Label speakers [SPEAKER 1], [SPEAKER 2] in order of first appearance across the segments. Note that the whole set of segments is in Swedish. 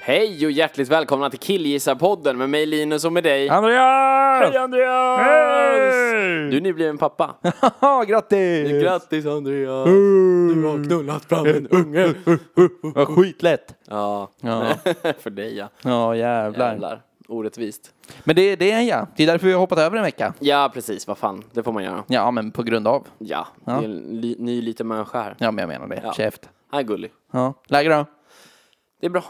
[SPEAKER 1] Hej och hjärtligt välkomna till Killgissarpodden med mig Linus och med dig.
[SPEAKER 2] Andreas!
[SPEAKER 1] Hej Andreas!
[SPEAKER 2] Hej!
[SPEAKER 1] Du är nybliven pappa.
[SPEAKER 2] Haha, grattis!
[SPEAKER 1] Grattis Andreas! Du har knullat fram en unge.
[SPEAKER 2] Vad skitlätt!
[SPEAKER 1] Ja,
[SPEAKER 2] Ja,
[SPEAKER 1] för dig ja.
[SPEAKER 2] ja jävlar.
[SPEAKER 1] Jävlar. Orättvist.
[SPEAKER 2] Men det, det är en ja. Det är därför vi har hoppat över en vecka.
[SPEAKER 1] Ja, precis. Vad fan. Det får man göra.
[SPEAKER 2] Ja, men på grund av.
[SPEAKER 1] Ja, det är en li- ny liten människa här.
[SPEAKER 2] Ja, men jag menar det.
[SPEAKER 1] Ja.
[SPEAKER 2] Käft.
[SPEAKER 1] Han är gullig.
[SPEAKER 2] Ja. Läge då?
[SPEAKER 1] Det är bra.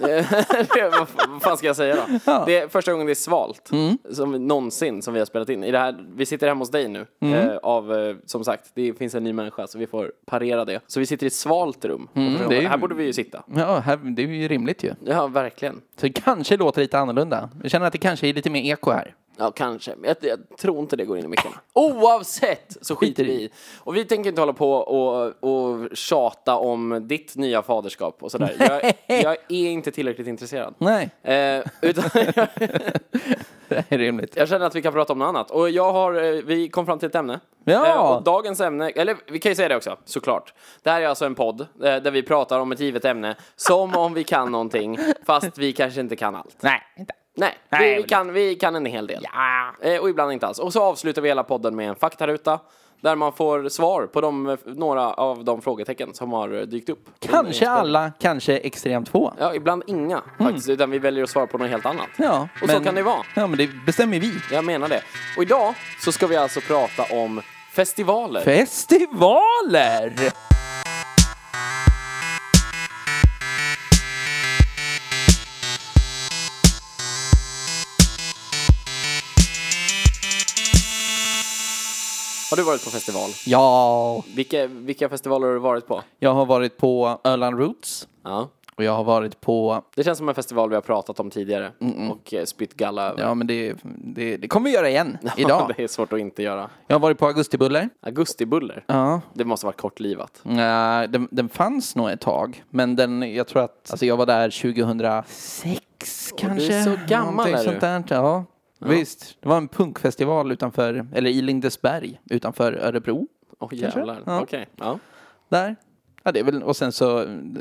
[SPEAKER 1] Det- det- vad f- vad fan ska jag säga då? Det är första gången det är svalt som vi, någonsin som vi har spelat in. I det här, vi sitter hemma hos dig nu. Eh, av, eh, som sagt, det finns en ny människa så vi får parera det. Så vi sitter i ett svalt rum. Och
[SPEAKER 2] det är ju-
[SPEAKER 1] Här borde vi ju sitta.
[SPEAKER 2] Ja, här, det är ju rimligt ju.
[SPEAKER 1] Mm, Ja, verkligen.
[SPEAKER 2] Så det kanske låter lite annorlunda. Jag känner att det kanske är lite mer eko här.
[SPEAKER 1] Ja, kanske. Men Jag, jag tror inte det går in i mickarna. Oavsett så skiter vi i. Och vi tänker inte hålla på och, och tjata om ditt nya faderskap och sådär. Jag, jag är inte tillräckligt intresserad.
[SPEAKER 2] Nej,
[SPEAKER 1] Eh, utan
[SPEAKER 2] det är rimligt.
[SPEAKER 1] Jag känner att vi kan prata om något annat. Och jag har, eh, vi kom fram till ett ämne.
[SPEAKER 2] Ja.
[SPEAKER 1] Eh, Och dagens ämne, eller vi kan ju säga det också, såklart. Det här är alltså en podd eh, där vi pratar om ett givet ämne som om vi kan någonting, fast vi kanske inte kan allt.
[SPEAKER 2] Nej, inte.
[SPEAKER 1] Nej,
[SPEAKER 2] Nej,
[SPEAKER 1] vi, vi,
[SPEAKER 2] men-
[SPEAKER 1] kan, vi kan en hel del.
[SPEAKER 2] Ja.
[SPEAKER 1] Eh, Och ibland inte alls. Och så avslutar vi hela podden med en faktaruta. Där man får svar på de, eh, några av de frågetecken som har eh, dykt upp.
[SPEAKER 2] Kanske alla, kanske extremt få.
[SPEAKER 1] Ja, ibland inga faktiskt. Utan vi väljer att svara på något helt annat.
[SPEAKER 2] Ja,
[SPEAKER 1] och så
[SPEAKER 2] men-
[SPEAKER 1] kan det vara.
[SPEAKER 2] Ja, men det bestämmer vi.
[SPEAKER 1] Jag menar det. Och idag så ska vi alltså prata om festivaler.
[SPEAKER 2] Festivaler!
[SPEAKER 1] har du varit på festival?
[SPEAKER 2] Ja,
[SPEAKER 1] Vilka, vilka festivaler har du varit på?
[SPEAKER 2] jag har varit på Öland Roots
[SPEAKER 1] Ja.
[SPEAKER 2] och jag har varit på
[SPEAKER 1] Det känns som en festival vi har pratat om tidigare och eh, spytt galla över.
[SPEAKER 2] Ja, men det, det, det kommer vi göra igen idag.
[SPEAKER 1] det är svårt att inte göra.
[SPEAKER 2] Jag har varit på Augustibuller.
[SPEAKER 1] Augustibuller.
[SPEAKER 2] Ja.
[SPEAKER 1] Det måste vara kortlivat.
[SPEAKER 2] Nej, Eh, den, den fanns nog ett tag, men den, jag tror att alltså jag var där 2006 kanske.
[SPEAKER 1] så gammal
[SPEAKER 2] Någonting
[SPEAKER 1] är du.
[SPEAKER 2] sånt där. Ja. Visst, det var en punkfestival utanför, eller i Lindesberg utanför Örebro.
[SPEAKER 1] Åh
[SPEAKER 2] Kanske?
[SPEAKER 1] jävlar.
[SPEAKER 2] Ja.
[SPEAKER 1] Okej. Ja.
[SPEAKER 2] Där. Ja, det är väl, och sen så,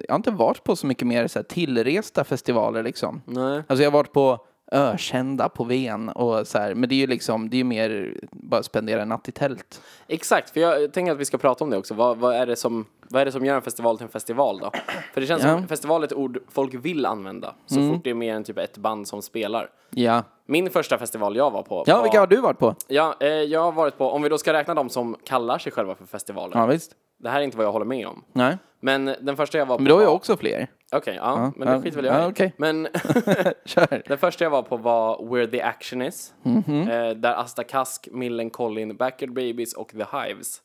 [SPEAKER 2] jag har inte varit på så mycket mer så här, tillresta festivaler liksom.
[SPEAKER 1] Nej.
[SPEAKER 2] Alltså jag har varit på ökända på Ven och så här, men det är ju liksom, det är ju mer bara spendera en natt i tält.
[SPEAKER 1] Exakt, för jag tänker att vi ska prata om det också. Vad, vad, är det som, vad är det som gör en festival till en festival då? För det känns
[SPEAKER 2] Ja. Mm.
[SPEAKER 1] som festival är ett ord folk vill använda så fort det är mer än typ ett band som spelar.
[SPEAKER 2] Ja.
[SPEAKER 1] Min första festival jag var på
[SPEAKER 2] Ja,
[SPEAKER 1] var...
[SPEAKER 2] vilka har du varit på?
[SPEAKER 1] Ja, eh, jag har varit på, om vi då ska räkna de som kallar sig själva för festivaler.
[SPEAKER 2] Ja, visst.
[SPEAKER 1] Det här är inte vad jag håller med om.
[SPEAKER 2] Nej.
[SPEAKER 1] Men den första jag var på...
[SPEAKER 2] Men då har jag
[SPEAKER 1] var-
[SPEAKER 2] också fler.
[SPEAKER 1] Okej, ja, men
[SPEAKER 2] ja,
[SPEAKER 1] det skiter väl jag
[SPEAKER 2] ja,
[SPEAKER 1] i.
[SPEAKER 2] okej.
[SPEAKER 1] Men
[SPEAKER 2] Kör.
[SPEAKER 1] den första jag var på var Where the Action Is.
[SPEAKER 2] Mhm.
[SPEAKER 1] eh, där Asta Kask, Millen Collin, Backyard Babies och The Hives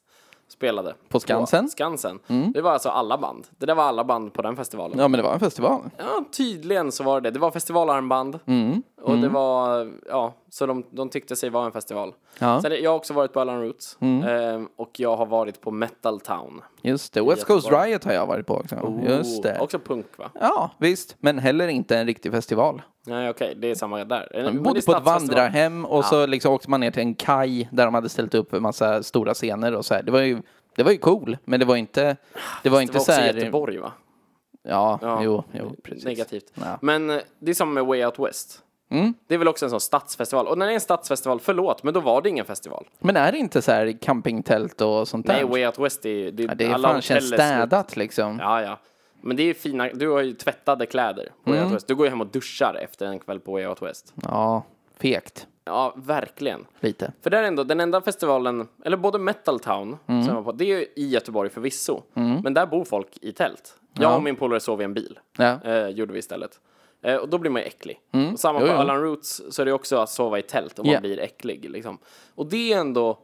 [SPEAKER 1] spelade.
[SPEAKER 2] På Skansen? Mm.
[SPEAKER 1] Skansen. Det var alltså alla band. Det där var alla band på den festivalen.
[SPEAKER 2] Ja, men det var en festival.
[SPEAKER 1] Ja, tydligen så var det det. Det var festivalarmband.
[SPEAKER 2] Mm.
[SPEAKER 1] Och det var, ja, så de, de tyckte sig vara en festival.
[SPEAKER 2] Ja. Mm.
[SPEAKER 1] Sen, jag har också varit på Allen Roots. Ehm, och jag har varit på Metal Town.
[SPEAKER 2] Just det. West Coast
[SPEAKER 1] Göteborg.
[SPEAKER 2] Riot har jag varit på också.
[SPEAKER 1] Oh.
[SPEAKER 2] Just det.
[SPEAKER 1] Också punk va?
[SPEAKER 2] Ja, visst. Men heller inte en riktig festival.
[SPEAKER 1] Nej okej, det är samma där. Men det
[SPEAKER 2] Man
[SPEAKER 1] är
[SPEAKER 2] bodde på ett
[SPEAKER 1] stadsfestival.
[SPEAKER 2] vandrarhem och så liksom åkte man ner till en kaj där de hade ställt upp en massa stora scener och så här. Det var ju, det var ju cool, men det var inte... Det var
[SPEAKER 1] Det
[SPEAKER 2] inte
[SPEAKER 1] var
[SPEAKER 2] så
[SPEAKER 1] också
[SPEAKER 2] här...
[SPEAKER 1] Göteborg va?
[SPEAKER 2] Ja,
[SPEAKER 1] Ja,
[SPEAKER 2] jo, jo, precis.
[SPEAKER 1] Negativt.
[SPEAKER 2] Ja. Mm.
[SPEAKER 1] Men eh, det är som med Way Out West. Det är väl också en sån stadsfestival. Och när det är en stadsfestival, förlåt, men då var det ingen festival.
[SPEAKER 2] Men är det inte så här campingtält och sånt där?
[SPEAKER 1] Nej, Way Out West är ju... Det,
[SPEAKER 2] Ja, det är
[SPEAKER 1] alla
[SPEAKER 2] fan känns
[SPEAKER 1] hotell är slut.
[SPEAKER 2] städat liksom.
[SPEAKER 1] Ja, ja. Men det är ju fina, du har ju tvättade kläder på
[SPEAKER 2] Mm.
[SPEAKER 1] Way Out West. Du går ju hem och duschar efter en kväll på Way Out West.
[SPEAKER 2] ja fegt.
[SPEAKER 1] Ja, verkligen.
[SPEAKER 2] Lite.
[SPEAKER 1] För det är ändå den enda festivalen, eller både Metal Town,
[SPEAKER 2] Mm.
[SPEAKER 1] som jag var på, det är ju i Göteborg förvisso. Men där bor folk i tält. Jag och min polare sov i en bil.
[SPEAKER 2] Ja. Mm.
[SPEAKER 1] Eh, gjorde vi istället. Eh, och då blir man ju äcklig. Och samma på
[SPEAKER 2] Jo, jo.
[SPEAKER 1] Alan Roots så är det också att sova i tält och man
[SPEAKER 2] Ja.
[SPEAKER 1] blir äcklig. Liksom. Och det är ändå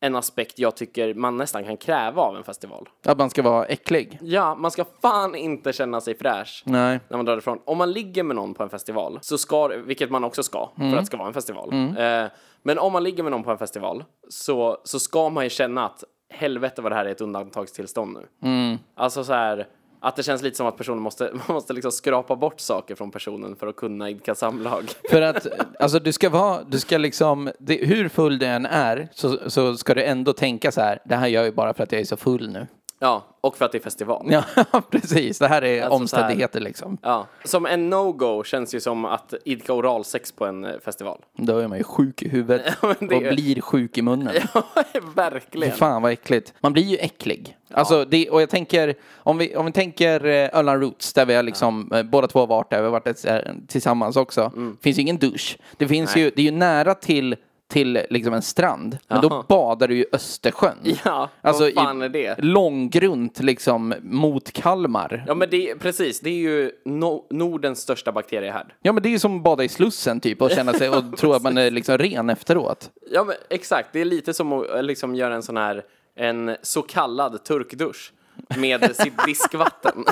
[SPEAKER 1] en aspekt jag tycker man nästan kan kräva av en festival.
[SPEAKER 2] Att man ska vara äcklig.
[SPEAKER 1] Ja, man ska fan inte känna sig fräsch
[SPEAKER 2] Nej.
[SPEAKER 1] när man drar ifrån. Om man ligger med någon på en festival, så ska, vilket man också ska
[SPEAKER 2] Mm.
[SPEAKER 1] för att det ska vara en festival. Eh, men om man ligger med någon på en festival så, så ska man ju känna att helvete vad det här är ett undantagstillstånd nu.
[SPEAKER 2] Mm.
[SPEAKER 1] Alltså så här, att det känns lite som att personen måste, man måste liksom skrapa bort saker från personen för att kunna idka samlag.
[SPEAKER 2] För att, alltså du ska vara, du ska liksom, det, hur full du än är så, så ska du ändå tänka så här, det här gör jag ju bara för att jag är så full nu.
[SPEAKER 1] Ja, och för att det är festival.
[SPEAKER 2] Ja, precis. Det här är
[SPEAKER 1] Alltså,
[SPEAKER 2] omständigheter liksom.
[SPEAKER 1] Ja. Som en no-go känns ju som att idka oralsex på en eh, festival.
[SPEAKER 2] Då är man ju sjuk i huvudet
[SPEAKER 1] Ja,
[SPEAKER 2] och
[SPEAKER 1] men det är-
[SPEAKER 2] blir sjuk i munnen. Fy
[SPEAKER 1] Verkligen.
[SPEAKER 2] fan vad äckligt. Man blir ju äcklig. Alltså, det, och jag tänker, om vi, om vi tänker eh, Öland Roots, där vi har liksom, eh, båda två har varit där, vi har varit ett, eh, tillsammans också.
[SPEAKER 1] Mm.
[SPEAKER 2] finns ju ingen dusch. Det, finns ju, det är ju nära till, till liksom en strand, men
[SPEAKER 1] Jaha.
[SPEAKER 2] då badar du ju i Östersjön.
[SPEAKER 1] Ja, vad fan är det?
[SPEAKER 2] Långgrunt liksom mot Kalmar.
[SPEAKER 1] Ja men det är, precis, det är ju no- Nordens största bakteriehärd.
[SPEAKER 2] Ja men det är ju som att bada i Slussen typ och känna sig och tro att man är liksom ren efteråt.
[SPEAKER 1] Ja men exakt, det är lite som att eh, liksom göra en sån här, en så kallad turkdusch med sitt diskvatten.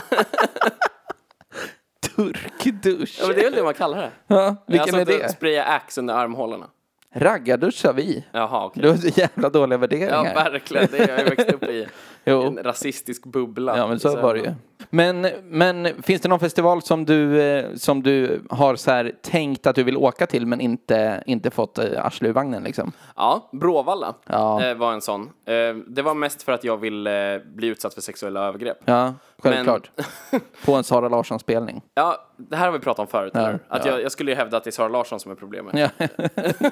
[SPEAKER 2] Turkdusch.
[SPEAKER 1] ja men det är väl det man kallar det?
[SPEAKER 2] Ja, vilken är
[SPEAKER 1] alltså,
[SPEAKER 2] det?
[SPEAKER 1] Spraya Axe under armhålorna.
[SPEAKER 2] Raggarduschar vi.
[SPEAKER 1] Jaha okej.
[SPEAKER 2] Du har så jävla dåliga värderingar.
[SPEAKER 1] Ja verkligen, det har jag växt upp i.
[SPEAKER 2] Jo.
[SPEAKER 1] En rasistisk bubbla.
[SPEAKER 2] Ja, men så var det ju. Men, men finns det någon festival som du, eh, som du har så här tänkt att du vill åka till men inte, inte fått eh, arsle ur vagnen liksom?
[SPEAKER 1] Ja, Bråvalla
[SPEAKER 2] Ja.
[SPEAKER 1] eh, var en sån. Eh, det var mest för att jag ville eh, bli utsatt för sexuella övergrepp.
[SPEAKER 2] Ja, självklart.
[SPEAKER 1] Men...
[SPEAKER 2] På en Sara Larsson-spelning.
[SPEAKER 1] Ja, det här har vi pratat om förut. eller? att
[SPEAKER 2] ja.
[SPEAKER 1] jag, jag skulle ju hävda att det är Sara Larsson som är problemet.
[SPEAKER 2] Ja.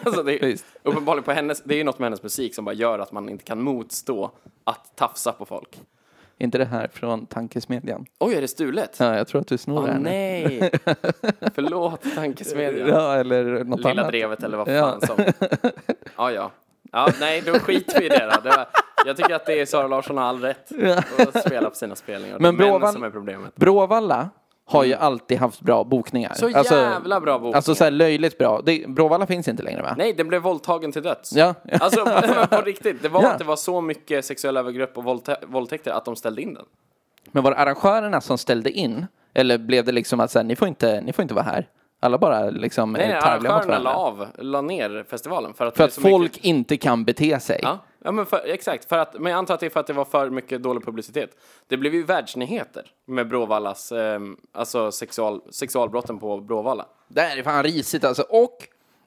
[SPEAKER 1] alltså det, är-
[SPEAKER 2] Visst.
[SPEAKER 1] uppenbarligen på hennes, det är ju något med hennes musik som bara gör att man inte kan motstå att tafsa på folk.
[SPEAKER 2] inte det här från tankesmedjan?
[SPEAKER 1] Oj, är det stulet?
[SPEAKER 2] Ja, jag tror att du snor det
[SPEAKER 1] Åh
[SPEAKER 2] här nu.
[SPEAKER 1] Ah, nej! Förlåt, tankesmedjan.
[SPEAKER 2] Ja, eller något
[SPEAKER 1] Lilla
[SPEAKER 2] annat.
[SPEAKER 1] drevet eller vad
[SPEAKER 2] Ja.
[SPEAKER 1] fan som. Ja, ja. Ja, nej, då skiter vi i det då. Det var, jag tycker att det är Sara Larsson har all rätt att spela på sina spelningar.
[SPEAKER 2] Men
[SPEAKER 1] det är männen
[SPEAKER 2] Blåvan-
[SPEAKER 1] som är problemet.
[SPEAKER 2] Bråvalla har ju alltid haft bra bokningar.
[SPEAKER 1] Mm. Så jävla bra bokningar.
[SPEAKER 2] Alltså så här löjligt bra. Det, Bråvalla finns inte längre va?
[SPEAKER 1] Nej, den blev våldtagen till döds.
[SPEAKER 2] Ja.
[SPEAKER 1] Alltså men på riktigt, det var
[SPEAKER 2] Ja.
[SPEAKER 1] att det var så mycket sexuella övergrepp och våldtä- våldtäkter att de ställde in den.
[SPEAKER 2] Men var det arrangörerna som ställde in? Eller blev det liksom att så här, ni, får inte, ni får inte vara här? Alla bara liksom
[SPEAKER 1] Nej,
[SPEAKER 2] eh,
[SPEAKER 1] nej,
[SPEAKER 2] tävlar mot
[SPEAKER 1] arrangörerna la
[SPEAKER 2] varandra.
[SPEAKER 1] av, la ner festivalen. För att,
[SPEAKER 2] För
[SPEAKER 1] det är
[SPEAKER 2] att
[SPEAKER 1] så
[SPEAKER 2] folk
[SPEAKER 1] Mycket...
[SPEAKER 2] inte kan bete sig.
[SPEAKER 1] Ja, ja men för, exakt. För att, men jag antar att det är för att det var för mycket dålig publicitet. Det blev ju världsnyheter med Bråvallas, ehm, alltså sexual, sexualbrotten på Bråvalla.
[SPEAKER 2] Det här är fan risigt alltså. Och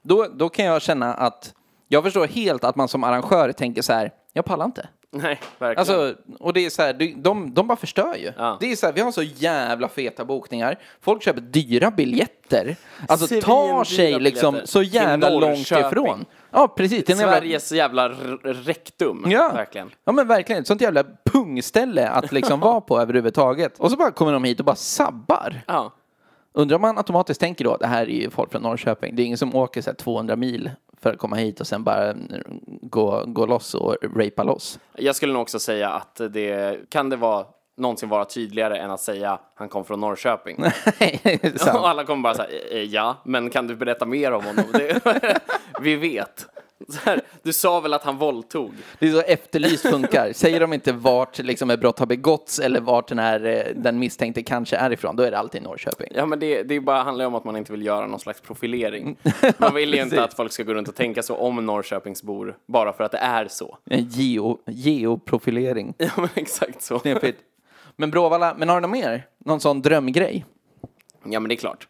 [SPEAKER 2] då, då kan jag känna att jag förstår helt att man som arrangör tänker så här, jag pallar inte.
[SPEAKER 1] Nej, verkligen.
[SPEAKER 2] Alltså, och det är så här, du- de, de bara förstör ju.
[SPEAKER 1] Ja.
[SPEAKER 2] Det är så här, vi har så jävla feta bokningar. Folk köper dyra biljetter. Alltså tar sig
[SPEAKER 1] biljetter.
[SPEAKER 2] liksom så
[SPEAKER 1] Till
[SPEAKER 2] jävla långt
[SPEAKER 1] Norrköping.
[SPEAKER 2] ifrån. Ja, precis. Till en jävla-
[SPEAKER 1] Sveriges jävla r- rektum.
[SPEAKER 2] Ja.
[SPEAKER 1] Verkligen.
[SPEAKER 2] ja, men verkligen. Ett sånt jävla pungställe att liksom vara på överhuvudtaget. Och så bara kommer de hit och bara sabbar.
[SPEAKER 1] Ja.
[SPEAKER 2] Undrar om man automatiskt tänker då, det här är ju folk från Norrköping. Det är ingen som åker så här 200 mil för att komma hit och sen bara mm, gå, gå loss och rapa loss.
[SPEAKER 1] Jag skulle nog också säga att det kan det vara någonsin vara tydligare än att säga han kom från Norrköping.
[SPEAKER 2] Sant.
[SPEAKER 1] Och alla kommer bara säga eh, ja, men kan du berätta mer om honom? Det, vi vet. Så här, du sa väl att han våldtog?
[SPEAKER 2] Det är så efterlyst funkar. Säger de inte vart liksom ett brott har begåtts eller vart den, här, eh, den misstänkte kanske är ifrån, då är det alltid Norrköping.
[SPEAKER 1] Ja, men det, det bara handlar ju om att man inte vill göra någon slags profilering. Man vill ju inte att folk ska gå runt och tänka så om Norrköpingsbor bara för att det är så.
[SPEAKER 2] En geo, geoprofilering.
[SPEAKER 1] Ja, men exakt så.
[SPEAKER 2] Knepigt. Men Bråvalla, men har du något mer? Någon sån drömgrej?
[SPEAKER 1] Ja, men det är klart.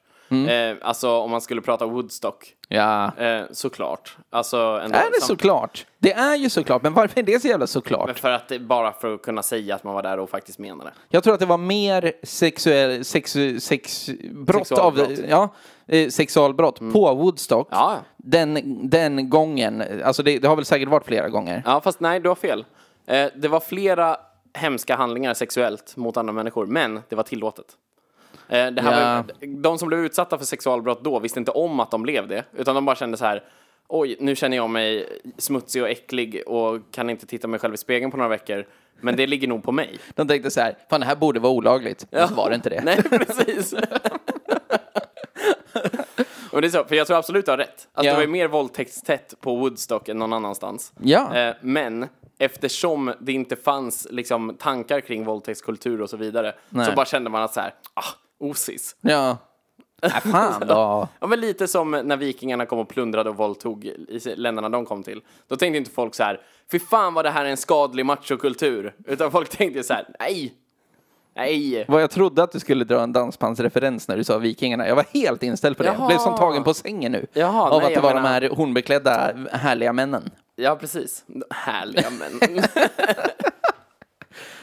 [SPEAKER 1] Eh, alltså, om man skulle prata Woodstock,
[SPEAKER 2] Ja.
[SPEAKER 1] eh, såklart. Alltså, ändå,
[SPEAKER 2] Är det
[SPEAKER 1] sam-
[SPEAKER 2] såklart? Det är ju såklart, men varför är det så jävla såklart?
[SPEAKER 1] För att det, bara för att kunna säga att man var där och faktiskt menade.
[SPEAKER 2] Jag tror att det var mer sexuell, sexu, sex, brott av,
[SPEAKER 1] Sexualbrott. Mm.
[SPEAKER 2] ja, eh, sexualbrott på Woodstock.
[SPEAKER 1] Ja.
[SPEAKER 2] Den, den gången, alltså det, det har väl säkert varit flera gånger.
[SPEAKER 1] Ja, fast nej, du har fel. Eh, det var flera hemska handlingar sexuellt mot andra människor, men det var tillåtet. Eh, det här
[SPEAKER 2] Ja.
[SPEAKER 1] var, ju- de som blev utsatta för sexualbrott då visste inte om att de blev det, utan de bara kände så här Oj, nu känner jag mig smutsig och äcklig och kan inte titta mig själv i spegeln på några veckor. Men det ligger nog på mig.
[SPEAKER 2] De tänkte så här, fan det här borde vara olagligt. Men så var det inte det.
[SPEAKER 1] Nej, precis. och det är så, för jag tror absolut du har rätt.
[SPEAKER 2] Ja.
[SPEAKER 1] Alltså, Det var ju mer våldtäktstätt på Woodstock än någon annanstans.
[SPEAKER 2] Ja.
[SPEAKER 1] Eh, men eftersom det inte fanns liksom, tankar kring våldtäktskultur och så vidare så bara kände man att så här, ah, osis.
[SPEAKER 2] Ja. Nej, fan då.
[SPEAKER 1] Ja, men lite som när vikingarna kom och plundrade och våldtog i se- länderna de kom till. Då tänkte inte folk så här, fy fan vad det här är en skadlig machokultur. Utan folk tänkte så här, nej, nej.
[SPEAKER 2] Vad jag trodde att du skulle dra en dansbandsreferens när du sa vikingarna. Jag var helt inställd på det.
[SPEAKER 1] Jaha.
[SPEAKER 2] Blev som tagen på sängen nu.
[SPEAKER 1] Jaha,
[SPEAKER 2] av
[SPEAKER 1] nej,
[SPEAKER 2] att det
[SPEAKER 1] jag
[SPEAKER 2] var de
[SPEAKER 1] menar-
[SPEAKER 2] här hornbeklädda härliga männen.
[SPEAKER 1] Ja, precis. Härliga män.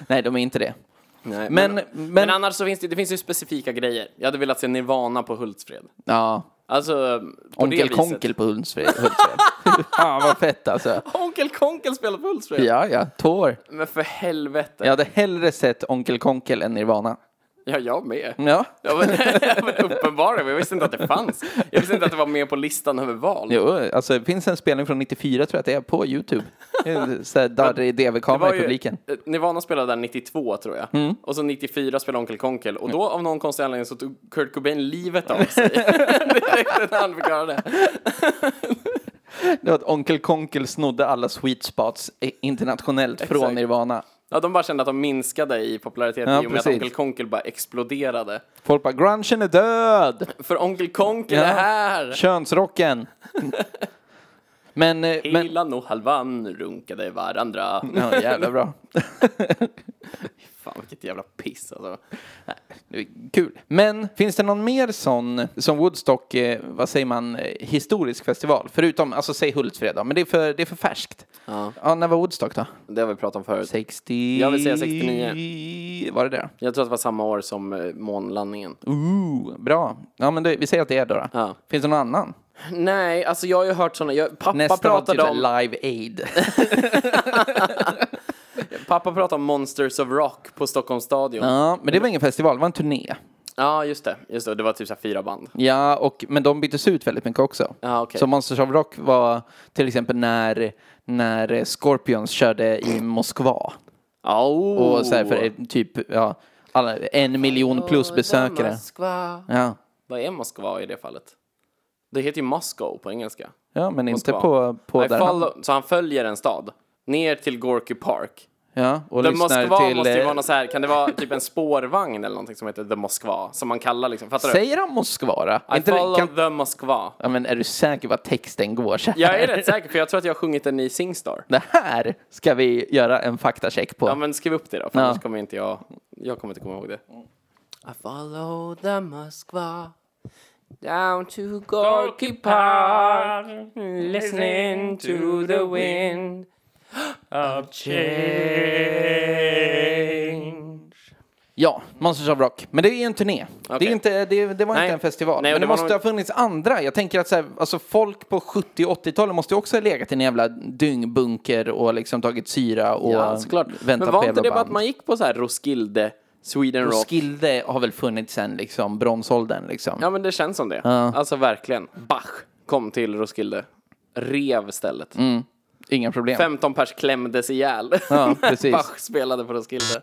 [SPEAKER 2] Nej, de är inte det.
[SPEAKER 1] Nej,
[SPEAKER 2] Men-
[SPEAKER 1] men,
[SPEAKER 2] men-
[SPEAKER 1] men, annars så finns det, det finns ju specifika grejer. Jag hade velat se Nirvana på Hultsfred.
[SPEAKER 2] Ja,
[SPEAKER 1] Alltså, på det
[SPEAKER 2] onkel
[SPEAKER 1] viset.
[SPEAKER 2] Konkel på Hultsfred. Hultsfred. Fan vad fett alltså.
[SPEAKER 1] Onkel Konkel spelar på Hultsfred?
[SPEAKER 2] Ja, ja, tår.
[SPEAKER 1] Men för helvete.
[SPEAKER 2] Jag
[SPEAKER 1] Ja,
[SPEAKER 2] hade hellre sett Onkel Konkel än Nirvana.
[SPEAKER 1] jag med.
[SPEAKER 2] Ja.
[SPEAKER 1] Ja, men, men uppenbarligen, jag visste inte att det fanns. Jag visste inte att det var med på listan över val.
[SPEAKER 2] Jo, alltså det finns en spelning från 94 tror jag att det är på Youtube. Det är en sån här darrig
[SPEAKER 1] Det var
[SPEAKER 2] DV-kamera i
[SPEAKER 1] ju-
[SPEAKER 2] publiken. Mm.
[SPEAKER 1] eh, Nirvana spelade där 92 tror jag. Och så 94 spelade Onkel Konkel. Och då av någon konstig anledning så tog Kurt Cobain livet av sig. Direkt när han fick höra det.
[SPEAKER 2] Det var att Onkel Konkel snodde alla sweet spots i- internationellt från
[SPEAKER 1] Exakt.
[SPEAKER 2] Nirvana.
[SPEAKER 1] Ja, de bara kände att de minskade i popularitet
[SPEAKER 2] Ja,
[SPEAKER 1] i och med
[SPEAKER 2] precis.
[SPEAKER 1] att Onkel Konkel bara exploderade.
[SPEAKER 2] Folk bara grungen är död!
[SPEAKER 1] För Onkel Konkel
[SPEAKER 2] Ja.
[SPEAKER 1] är här!
[SPEAKER 2] Könsrocken! Men, eh, men...
[SPEAKER 1] Ilan och Halvan runkade varandra.
[SPEAKER 2] Ja, jävla bra.
[SPEAKER 1] Fan vilket jävla piss alltså.
[SPEAKER 2] Det är Kul. Men finns det någon mer sån som Woodstock, eh, vad säger man, eh, historisk festival? Förutom, alltså säg Hultsfred då, men det är för, det är för färskt. Ja. när var Woodstock då?
[SPEAKER 1] Det har vi pratat om förut.
[SPEAKER 2] 60...
[SPEAKER 1] Jag vill säga 69.
[SPEAKER 2] Var det det?
[SPEAKER 1] Jag tror att det var samma år som eh, månlandningen.
[SPEAKER 2] Mm. Ooh, bra. Ja, men det, vi säger att det är då. då.
[SPEAKER 1] Ja.
[SPEAKER 2] Finns det någon annan?
[SPEAKER 1] Nej, alltså jag har ju hört sådana. Jag, pappa,
[SPEAKER 2] Nästa
[SPEAKER 1] pratade
[SPEAKER 2] var
[SPEAKER 1] om,
[SPEAKER 2] typ Live Aid.
[SPEAKER 1] pappa pratade om Monsters of Rock på Stockholms stadion. Ja,
[SPEAKER 2] ja, men det var ingen festival, det var en turné.
[SPEAKER 1] just det. Just det. Det var typ så här fyra band.
[SPEAKER 2] Ja, och, men de byttes ut väldigt mycket också.
[SPEAKER 1] Ja, okej.
[SPEAKER 2] Så Monsters of Rock var till exempel när, när Scorpions körde i Moskva.
[SPEAKER 1] Oh.
[SPEAKER 2] Och så här för typ ja, alla, en miljon plus besökare.
[SPEAKER 1] Moskva.
[SPEAKER 2] Ja,
[SPEAKER 1] Vad är Moskva i det fallet? Det heter ju Moscow på engelska.
[SPEAKER 2] ja men inte
[SPEAKER 1] Moskva.
[SPEAKER 2] på, på
[SPEAKER 1] I
[SPEAKER 2] där han,
[SPEAKER 1] follow, så han följer en stad. Ner till Gorky Park.
[SPEAKER 2] ja, och
[SPEAKER 1] The
[SPEAKER 2] lyssnar
[SPEAKER 1] Moskva
[SPEAKER 2] till...
[SPEAKER 1] måste ju
[SPEAKER 2] eh,
[SPEAKER 1] vara något så här, kan det vara typ en spårvagn eller någonting som heter The Moskva? Som man kallar liksom, fattar
[SPEAKER 2] Säger de Moskva då?
[SPEAKER 1] du? I
[SPEAKER 2] Inte det-
[SPEAKER 1] follow
[SPEAKER 2] kan,
[SPEAKER 1] the Moskva.
[SPEAKER 2] ja, men är du säker på att texten går så här?
[SPEAKER 1] Jag är rätt säker, för jag tror att jag har sjungit den i Singstar.
[SPEAKER 2] Det här ska vi göra en faktacheck på.
[SPEAKER 1] Ja men skriv upp det då, för
[SPEAKER 2] Ja.
[SPEAKER 1] annars kommer inte jag, jag kommer inte komma ihåg det. I follow the Moskva down to Gorky Park listening to the wind of change
[SPEAKER 2] Ja, Monsters of Rock. Men det är ju en turné. Det, är inte, det, det var
[SPEAKER 1] Nej.
[SPEAKER 2] inte en festival.
[SPEAKER 1] Nej, och
[SPEAKER 2] men det,
[SPEAKER 1] det var
[SPEAKER 2] måste
[SPEAKER 1] nog-
[SPEAKER 2] ha funnits andra. Jag tänker att så här, alltså folk på 70 och 80-talet måste ju också ha legat i en jävla dyngbunker och liksom tagit syra och
[SPEAKER 1] Ja, såklart.
[SPEAKER 2] väntat
[SPEAKER 1] Men var
[SPEAKER 2] på
[SPEAKER 1] inte
[SPEAKER 2] jävla
[SPEAKER 1] det bara
[SPEAKER 2] band.
[SPEAKER 1] att man gick på så här Roskilde, Sweden Rock?
[SPEAKER 2] Skilde har väl funnits sen liksom bronsåldern liksom.
[SPEAKER 1] Ja, men det känns som det. Alltså verkligen. Bach kom till Roskilde. Rev stället.
[SPEAKER 2] Inga problem.
[SPEAKER 1] 15 pers klämdes ihjäl.
[SPEAKER 2] Mm. Ja, precis.
[SPEAKER 1] Bach spelade på Roskilde.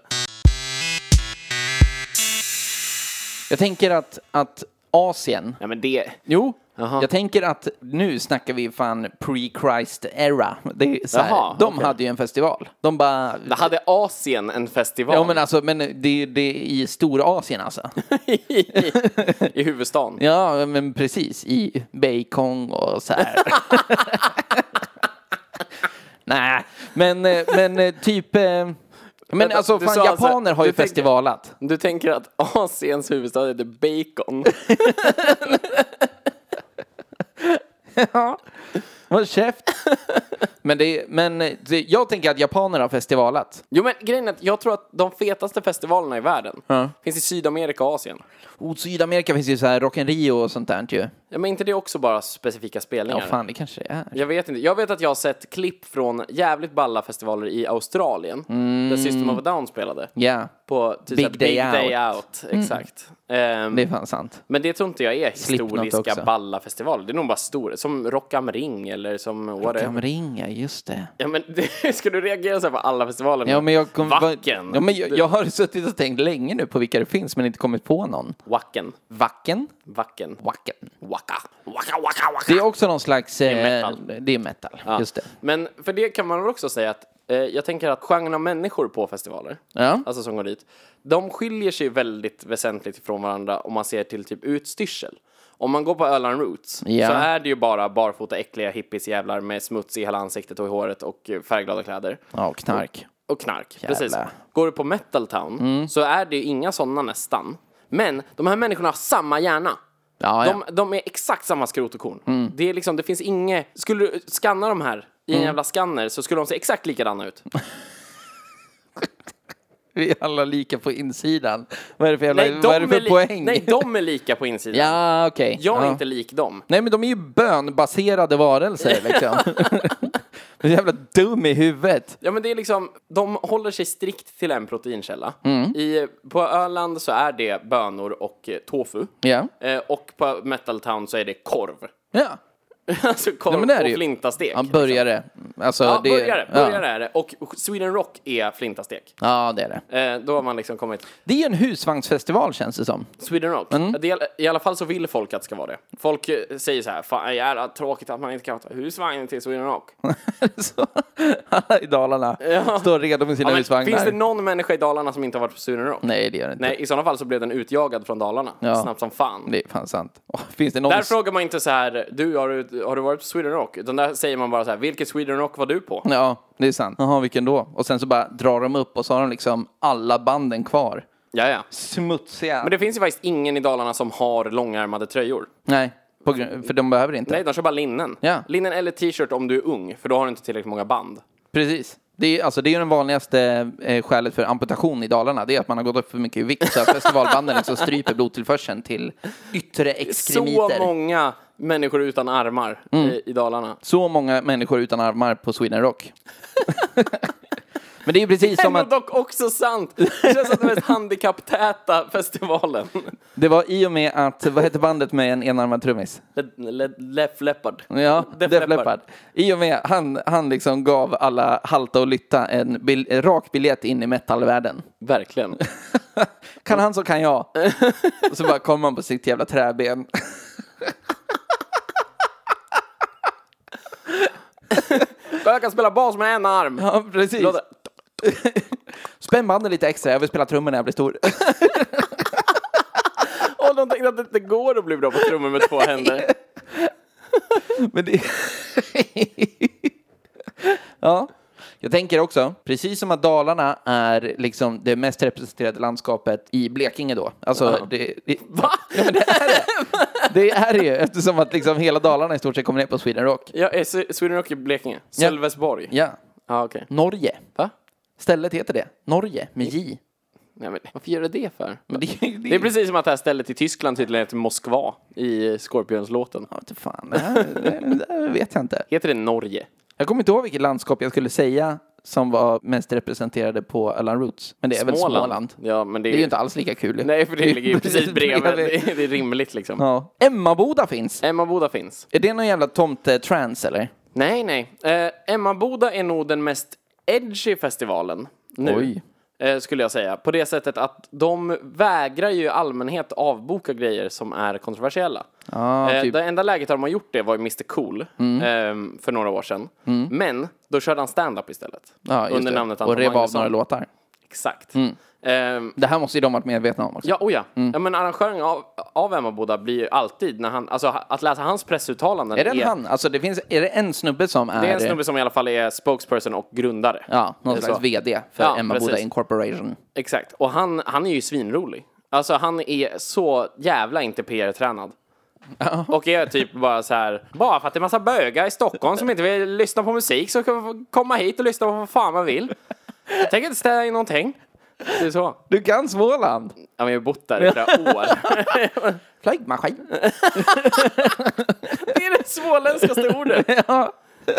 [SPEAKER 2] Jag tänker att, att Asien.
[SPEAKER 1] Ja, men det...
[SPEAKER 2] Jo.
[SPEAKER 1] Jaha.
[SPEAKER 2] Jag tänker att nu snackar vi fan pre-Christ era. Det är så här,
[SPEAKER 1] Jaha,
[SPEAKER 2] de
[SPEAKER 1] okej.
[SPEAKER 2] hade ju en festival. De bara...
[SPEAKER 1] Det hade Asien en festival
[SPEAKER 2] Ja men alltså, men det, det är i Storasien alltså.
[SPEAKER 1] i huvudstaden.
[SPEAKER 2] Ja, men precis. I Beijing och så här. Nej, men, eh, men eh, typ... eh, Men
[SPEAKER 1] Vänta,
[SPEAKER 2] alltså,
[SPEAKER 1] du
[SPEAKER 2] fan,
[SPEAKER 1] sa alltså-
[SPEAKER 2] japaner har ju
[SPEAKER 1] du tänker-
[SPEAKER 2] festivalat.
[SPEAKER 1] Du tänker att Asiens huvudstad heter Bacon?
[SPEAKER 2] Håll käft! men det, men eh, det, jag tänker att japaner har festivalat.
[SPEAKER 1] Jo men grejen är att jag tror att de fetaste festivalerna i världen finns i Sydamerika och Asien.
[SPEAKER 2] Och Sydamerika finns ju så här Rock in Rio och sånt där ju.
[SPEAKER 1] Ja, men inte det också bara specifika
[SPEAKER 2] Ja,
[SPEAKER 1] spelningar?
[SPEAKER 2] fan, det kanske det är.
[SPEAKER 1] Jag vet inte. Jag vet att jag har sett klipp från jävligt balla festivaler i Australien. Där System of a Down spelade.
[SPEAKER 2] Ja,
[SPEAKER 1] På typ
[SPEAKER 2] Mm. Big
[SPEAKER 1] såhär
[SPEAKER 2] Day
[SPEAKER 1] Big Day
[SPEAKER 2] Out. Mm.
[SPEAKER 1] Out. Exakt. Ehm,
[SPEAKER 2] det är fan sant.
[SPEAKER 1] men det tror inte jag är
[SPEAKER 2] Slipknot
[SPEAKER 1] historiska
[SPEAKER 2] också.
[SPEAKER 1] balla festivaler. Det är nog bara stora. Som Rock am Ring eller som
[SPEAKER 2] Rock
[SPEAKER 1] whatever.
[SPEAKER 2] am Ring, ja, just det.
[SPEAKER 1] Ja, men det, ska du reagera så här på alla festivaler? nu?
[SPEAKER 2] Ja, men jag kom,
[SPEAKER 1] Vacken.
[SPEAKER 2] Ja, men jag, jag har suttit och tänkt länge nu på vilka det finns, men inte kommit på någon.
[SPEAKER 1] Wacken.
[SPEAKER 2] Vacken?
[SPEAKER 1] Wacken.
[SPEAKER 2] Wacken.
[SPEAKER 1] Waka. Waka, waka, waka.
[SPEAKER 2] Det är också någon slags... Det
[SPEAKER 1] är metal.
[SPEAKER 2] Det är metal,
[SPEAKER 1] Ja.
[SPEAKER 2] just det.
[SPEAKER 1] Men för det kan man väl också säga att eh, jag tänker att genren av människor på festivaler,
[SPEAKER 2] Ja.
[SPEAKER 1] alltså som går dit, de skiljer sig väldigt väsentligt från varandra om man ser till typ utstyrsel. Om man går på Öland Roots
[SPEAKER 2] Ja.
[SPEAKER 1] så är det ju bara barfota äckliga hippiesjävlar med smuts i hela ansiktet och i håret och eh, färgglada kläder.
[SPEAKER 2] Ja, och knark.
[SPEAKER 1] Och knark,
[SPEAKER 2] Jävlar. Mm.
[SPEAKER 1] precis. Går du på Metal Town så är det ju inga sådana nästan. Men de här människorna har samma hjärna.
[SPEAKER 2] Ja, ja. Mm.
[SPEAKER 1] de, de är exakt samma skrot och korn. Det, är liksom, det finns inget... Skulle du scanna de här i en jävla scanner så skulle de se exakt likadana ut.
[SPEAKER 2] Vi är alla lika på insidan. Vad är det för, jävla,
[SPEAKER 1] Nej, de,
[SPEAKER 2] vad är det
[SPEAKER 1] är
[SPEAKER 2] för
[SPEAKER 1] li-
[SPEAKER 2] poäng?
[SPEAKER 1] Nej, de är lika på insidan.
[SPEAKER 2] Ja, okej.
[SPEAKER 1] Jag är
[SPEAKER 2] ja.
[SPEAKER 1] inte lik dem.
[SPEAKER 2] Nej, men de är ju bönbaserade varelser liksom. Du är jävla dum i huvudet.
[SPEAKER 1] Ja, men det är liksom, de håller sig strikt till en proteinkälla.
[SPEAKER 2] Mm.
[SPEAKER 1] I, på Öland så är det bönor och eh, tofu.
[SPEAKER 2] Ja.
[SPEAKER 1] Eh, och på Metal Town så är det korv.
[SPEAKER 2] Ja.
[SPEAKER 1] alltså korv
[SPEAKER 2] men det är det
[SPEAKER 1] och
[SPEAKER 2] ju.
[SPEAKER 1] flintastek. Liksom.
[SPEAKER 2] Ja, börjare. Alltså,
[SPEAKER 1] Ja,
[SPEAKER 2] det,
[SPEAKER 1] börjare, börjare
[SPEAKER 2] Ja.
[SPEAKER 1] är det. Och Sweden Rock är flintastek.
[SPEAKER 2] ja, det är det.
[SPEAKER 1] Eh, då har man liksom kommit...
[SPEAKER 2] Det är ju en husvagnsfestival känns det som.
[SPEAKER 1] Sweden Rock.
[SPEAKER 2] Mm.
[SPEAKER 1] Det, är- I alla fall så vill folk att det ska vara det. Folk eh, säger så här, fan jävla tråkigt att man inte kan ta husvagnen till Sweden Rock.
[SPEAKER 2] Så, alla i Dalarna står redo med sina
[SPEAKER 1] Ja, men,
[SPEAKER 2] husvagnar.
[SPEAKER 1] finns det någon människa i Dalarna som inte har varit på Sweden Rock?
[SPEAKER 2] Nej, det gör det inte.
[SPEAKER 1] Nej, i sådana fall så blev den utjagad från Dalarna.
[SPEAKER 2] Ja.
[SPEAKER 1] Snabbt som fan.
[SPEAKER 2] Det är fan sant. Åh, finns det någon...
[SPEAKER 1] Där frågar man inte så här, du har, du har du varit på Sweden Rock? Utan där säger man bara så här, vilket Sweden Rock var du på?
[SPEAKER 2] Ja, det är sant. Jaha, vilken då? Och sen så bara drar de upp och så har de liksom alla banden kvar.
[SPEAKER 1] Ja, ja.
[SPEAKER 2] Smutsiga.
[SPEAKER 1] Men det finns ju faktiskt ingen i Dalarna som har långärmade tröjor.
[SPEAKER 2] Nej, på grund... för de behöver inte.
[SPEAKER 1] Nej, de kör bara linnen.
[SPEAKER 2] Ja.
[SPEAKER 1] Linnen eller t-shirt om du är ung, för då har du inte tillräckligt många band.
[SPEAKER 2] Precis. Det är, alltså, det är ju den vanligaste eh, skälet för amputation i Dalarna. Det är att man har gått upp för mycket i vikt så att festivalbanden liksom stryper blodtillförseln till yttre exkremiter.
[SPEAKER 1] Så många människor utan armar
[SPEAKER 2] Mm.
[SPEAKER 1] eh, i, i Dalarna.
[SPEAKER 2] så många människor utan armar på Sweden Rock. Men det är ju precis som
[SPEAKER 1] Ändå
[SPEAKER 2] att
[SPEAKER 1] dock också sant! Det känns som den mest handikapptäta festivalen.
[SPEAKER 2] det var i och med att, vad hette bandet med en enarmad trummis?
[SPEAKER 1] Le, le, Lef Leppard.
[SPEAKER 2] Ja,
[SPEAKER 1] Def
[SPEAKER 2] Def, Leppard. I och med han, han liksom gav alla halta och lytta en, bil, en rak biljett in i metalvärlden.
[SPEAKER 1] Verkligen.
[SPEAKER 2] Kan han så kan jag. Och så bara kommer man på sitt jävla träben.
[SPEAKER 1] Jag kan spela bas med en arm.
[SPEAKER 2] Ja, precis.
[SPEAKER 1] Låter-
[SPEAKER 2] Spänn banden lite extra, jag vill spela trummor när jag blir stor.
[SPEAKER 1] Och de tänkte att det inte går att bli bra på trummor med två händer.
[SPEAKER 2] Men det... ja. Jag tänker också, precis som att Dalarna är liksom det mest representerade landskapet i Blekinge då. Alltså, det, det,
[SPEAKER 1] Va?
[SPEAKER 2] det är det ju, eftersom att liksom hela Dalarna i stort sett kommer ner på Sweden Rock.
[SPEAKER 1] Ja, är Swe- Sweden Rock i Blekinge? Sölvesborg?
[SPEAKER 2] Ja,
[SPEAKER 1] Ja, okej.
[SPEAKER 2] Norge.
[SPEAKER 1] Va?
[SPEAKER 2] Stället heter det. Norge, med J.
[SPEAKER 1] Nej, men varför gör du det för?
[SPEAKER 2] Men det,
[SPEAKER 1] Det är precis som att det här stället i Tyskland tydligen heter Moskva i Scorpions-låten.
[SPEAKER 2] Ja, inte fan. Det, här, det, här, det här vet jag inte.
[SPEAKER 1] Heter det Norge?
[SPEAKER 2] Jag kommer inte ihåg vilket landskap jag skulle säga som var mest representerade på Öland Roots. Men det är väl Småland.
[SPEAKER 1] Ja, men det är,
[SPEAKER 2] Det är ju inte alls lika kul.
[SPEAKER 1] Nej, för det ligger ju precis bredvid. Det är- det är rimligt liksom.
[SPEAKER 2] Ja. Emmaboda finns.
[SPEAKER 1] Emmaboda finns.
[SPEAKER 2] Är det någon jävla tomte-trans eller?
[SPEAKER 1] Nej, nej. Eh, Emmaboda är nog den mest edgy festivalen nu.
[SPEAKER 2] Oj.
[SPEAKER 1] Eh, skulle jag säga. På det sättet att de vägrar ju i allmänhet avboka grejer som är kontroversiella.
[SPEAKER 2] Ah,
[SPEAKER 1] Eh,
[SPEAKER 2] typ. Mm.
[SPEAKER 1] Det enda läget där de har gjort det var ju Mr Cool ehm, för några år sedan. Men då körde han stand-up istället.
[SPEAKER 2] Ja, just
[SPEAKER 1] under
[SPEAKER 2] det.
[SPEAKER 1] namnet Anton
[SPEAKER 2] Och rev av
[SPEAKER 1] Magnusson.
[SPEAKER 2] några låtar. Mm.
[SPEAKER 1] Exakt. Ehm,
[SPEAKER 2] Det här måste ju de varit medvetna om också.
[SPEAKER 1] Ja, oh ja.
[SPEAKER 2] Mm.
[SPEAKER 1] ja men arrangören av, av Emmaboda blir ju alltid när han, alltså att läsa hans pressuttalanden
[SPEAKER 2] Är det en han? Alltså det finns, är det en snubbe som är...
[SPEAKER 1] Det är en snubbe som i alla fall är spokesperson och grundare.
[SPEAKER 2] Ja, någon
[SPEAKER 1] Så.
[SPEAKER 2] slags VD för
[SPEAKER 1] Ja,
[SPEAKER 2] Emmaboda
[SPEAKER 1] precis.
[SPEAKER 2] Incorporation.
[SPEAKER 1] Exakt. Och han, han är ju svinrolig. Alltså han är så jävla inte PR-tränad. Och är typ bara så här, bara för att det är massa bögar i Stockholm som inte vill lyssna på musik så kan man få komma hit och lyssna på vad fan man vill. Jag tänker inte ställa in någonting. Det är så.
[SPEAKER 2] Du kan Småland!
[SPEAKER 1] Ja, men jag har bott där i flera år.
[SPEAKER 2] Flygmaskin.
[SPEAKER 1] Det är det småländskaste ordet.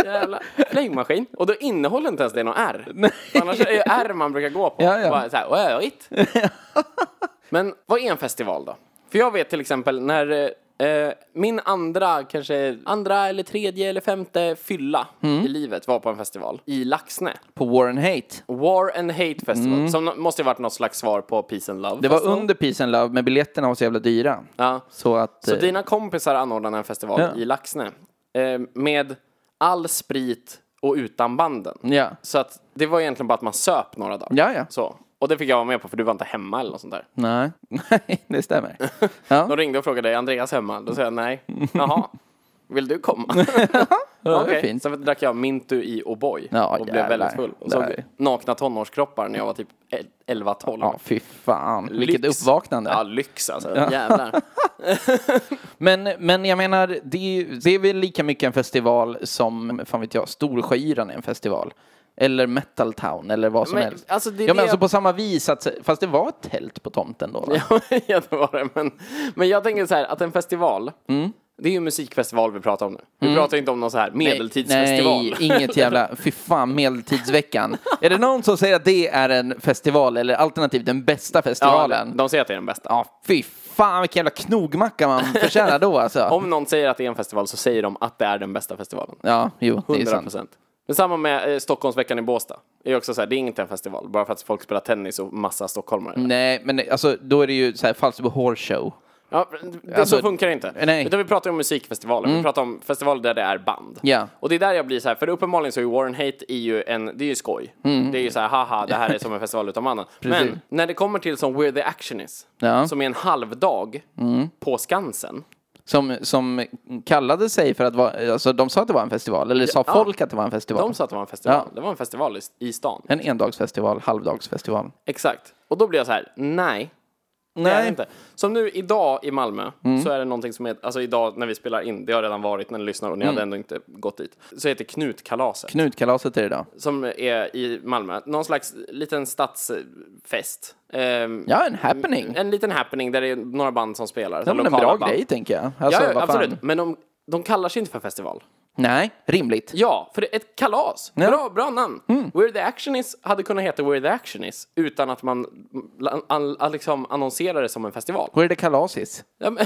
[SPEAKER 1] Jävla flygmaskin. Och då innehåller inte ens det någon R. För Annars är det R man brukar gå på.
[SPEAKER 2] Ja, ja.
[SPEAKER 1] Bara så här, "Åh, öigt." Men vad är en festival då? För jag vet till exempel när eh, Eh, min andra, kanske andra eller tredje eller femte fylla
[SPEAKER 2] Mm.
[SPEAKER 1] i livet var på en festival i Laxne.
[SPEAKER 2] På Warren Hate.
[SPEAKER 1] War and Hate Festival, som nå- måste ju varit något slags svar på Peace and Love.
[SPEAKER 2] Mm. Det var
[SPEAKER 1] Festival.
[SPEAKER 2] under Peace and Love, men biljetterna var så jävla dyra.
[SPEAKER 1] Ja.
[SPEAKER 2] Så att...
[SPEAKER 1] Så
[SPEAKER 2] eh,
[SPEAKER 1] dina kompisar anordnade en festival
[SPEAKER 2] Ja.
[SPEAKER 1] i Laxne eh, med all sprit och utan banden.
[SPEAKER 2] Ja.
[SPEAKER 1] Så att det var egentligen bara att man söp några dagar.
[SPEAKER 2] Mm. Ja, ja.
[SPEAKER 1] Så. Och det fick jag vara med på för du var inte hemma eller något sånt där.
[SPEAKER 2] Nej, nej, det stämmer.
[SPEAKER 1] De ringde och frågade, är Andreas hemma? Då sa jag nej. Jaha, vill du komma?
[SPEAKER 2] Mm. Ja, det är
[SPEAKER 1] Okej,
[SPEAKER 2] fint.
[SPEAKER 1] sen drack jag Mintu i O'boy
[SPEAKER 2] Ja,
[SPEAKER 1] och blev
[SPEAKER 2] jävlar.
[SPEAKER 1] väldigt full. Och såg
[SPEAKER 2] Där.
[SPEAKER 1] nakna tonårskroppar när jag var typ el- 11-12.
[SPEAKER 2] Ja, fy fan. Vilket
[SPEAKER 1] Lyx.
[SPEAKER 2] uppvaknande.
[SPEAKER 1] Ja, lyx alltså. Jävlar.
[SPEAKER 2] Men, men jag menar, det är, ju- det är väl lika mycket en festival som, fan vet jag, Storsjöyran är en festival. Eller Metal Town eller vad som
[SPEAKER 1] Men,
[SPEAKER 2] helst.
[SPEAKER 1] alltså, det är
[SPEAKER 2] ja, men
[SPEAKER 1] det
[SPEAKER 2] alltså
[SPEAKER 1] jag-
[SPEAKER 2] på samma vis, att, fast det var ett tält på tomten då. Va?
[SPEAKER 1] ja, det var det. Men, men jag tänker så här, att en festival,
[SPEAKER 2] Mm.
[SPEAKER 1] det är ju en musikfestival vi pratar om nu. Vi pratar ju inte om någon så här medeltidsfestival.
[SPEAKER 2] Nej, Mm. inget jävla, fy fan, medeltidsveckan. är det någon som säger att det är en festival eller alternativt den bästa
[SPEAKER 1] ja,
[SPEAKER 2] festivalen?
[SPEAKER 1] de, de säger att det är den bästa.
[SPEAKER 2] Ja, fy fan vilken jävla knogmacka man förtjänar då alltså.
[SPEAKER 1] Om någon säger att det är en festival så säger de att det är den bästa festivalen.
[SPEAKER 2] Ja, jo, det är
[SPEAKER 1] 100
[SPEAKER 2] sant.
[SPEAKER 1] procent. Men samma med eh, Stockholmsveckan i Båstad. Det är också så här, det är inte en festival, bara för att folk spelar tennis och massa stockholmare.
[SPEAKER 2] Nej, men alltså då är det ju så här Falsterbo Horse Show.
[SPEAKER 1] Ja, det,
[SPEAKER 2] Alltså,
[SPEAKER 1] så funkar det inte.
[SPEAKER 2] nej. Mm.
[SPEAKER 1] Utan vi pratar ju om musikfestivaler, vi pratar om festivaler där det är band.
[SPEAKER 2] Ja.
[SPEAKER 1] Och det är där jag blir så här, för uppenbarligen så är ju Warren Hate är ju en, det är ju skoj.
[SPEAKER 2] Mm.
[SPEAKER 1] Det är ju så här, haha, det här är som en festival utan annan. Men när det kommer till som Where the Action Is,
[SPEAKER 2] Ja. Mm.
[SPEAKER 1] som är en halvdag på Skansen.
[SPEAKER 2] Som, som kallade sig för att vara, alltså de sa att det var en festival, eller sa
[SPEAKER 1] Ja.
[SPEAKER 2] folk att det var en festival.
[SPEAKER 1] De sa att det var en festival,
[SPEAKER 2] Ja.
[SPEAKER 1] det var en festival i, i stan.
[SPEAKER 2] En endagsfestival, halvdagsfestival.
[SPEAKER 1] Exakt. Och då blir jag så här, nej. Nej. Det är det inte. Som nu idag i Malmö,
[SPEAKER 2] Mm.
[SPEAKER 1] så är det någonting som heter, alltså idag när vi spelar in, det har redan varit när ni lyssnar och
[SPEAKER 2] Mm.
[SPEAKER 1] ni hade ändå inte gått dit, så heter Knutkalaset.
[SPEAKER 2] Knutkalaset är det idag.
[SPEAKER 1] som är i Malmö. Någon slags liten stadsfest. Ehm,
[SPEAKER 2] Ja, en happening.
[SPEAKER 1] En liten happening där det är några band som spelar.
[SPEAKER 2] Det
[SPEAKER 1] så
[SPEAKER 2] var väl en
[SPEAKER 1] lokala
[SPEAKER 2] bra
[SPEAKER 1] band.
[SPEAKER 2] grej tänker jag.
[SPEAKER 1] Ja,
[SPEAKER 2] Alltså,
[SPEAKER 1] ja
[SPEAKER 2] vad fan.
[SPEAKER 1] absolut. Men de, de kallar sig inte för festival.
[SPEAKER 2] Nej, rimligt.
[SPEAKER 1] Ja, för det är ett kalas. Bra, bra namn.
[SPEAKER 2] Mm.
[SPEAKER 1] Where the action is hade kunnat heta Where the action is utan att man an, an, an, liksom annonserar det som en festival.
[SPEAKER 2] Where the Kalasis?
[SPEAKER 1] Ja, men-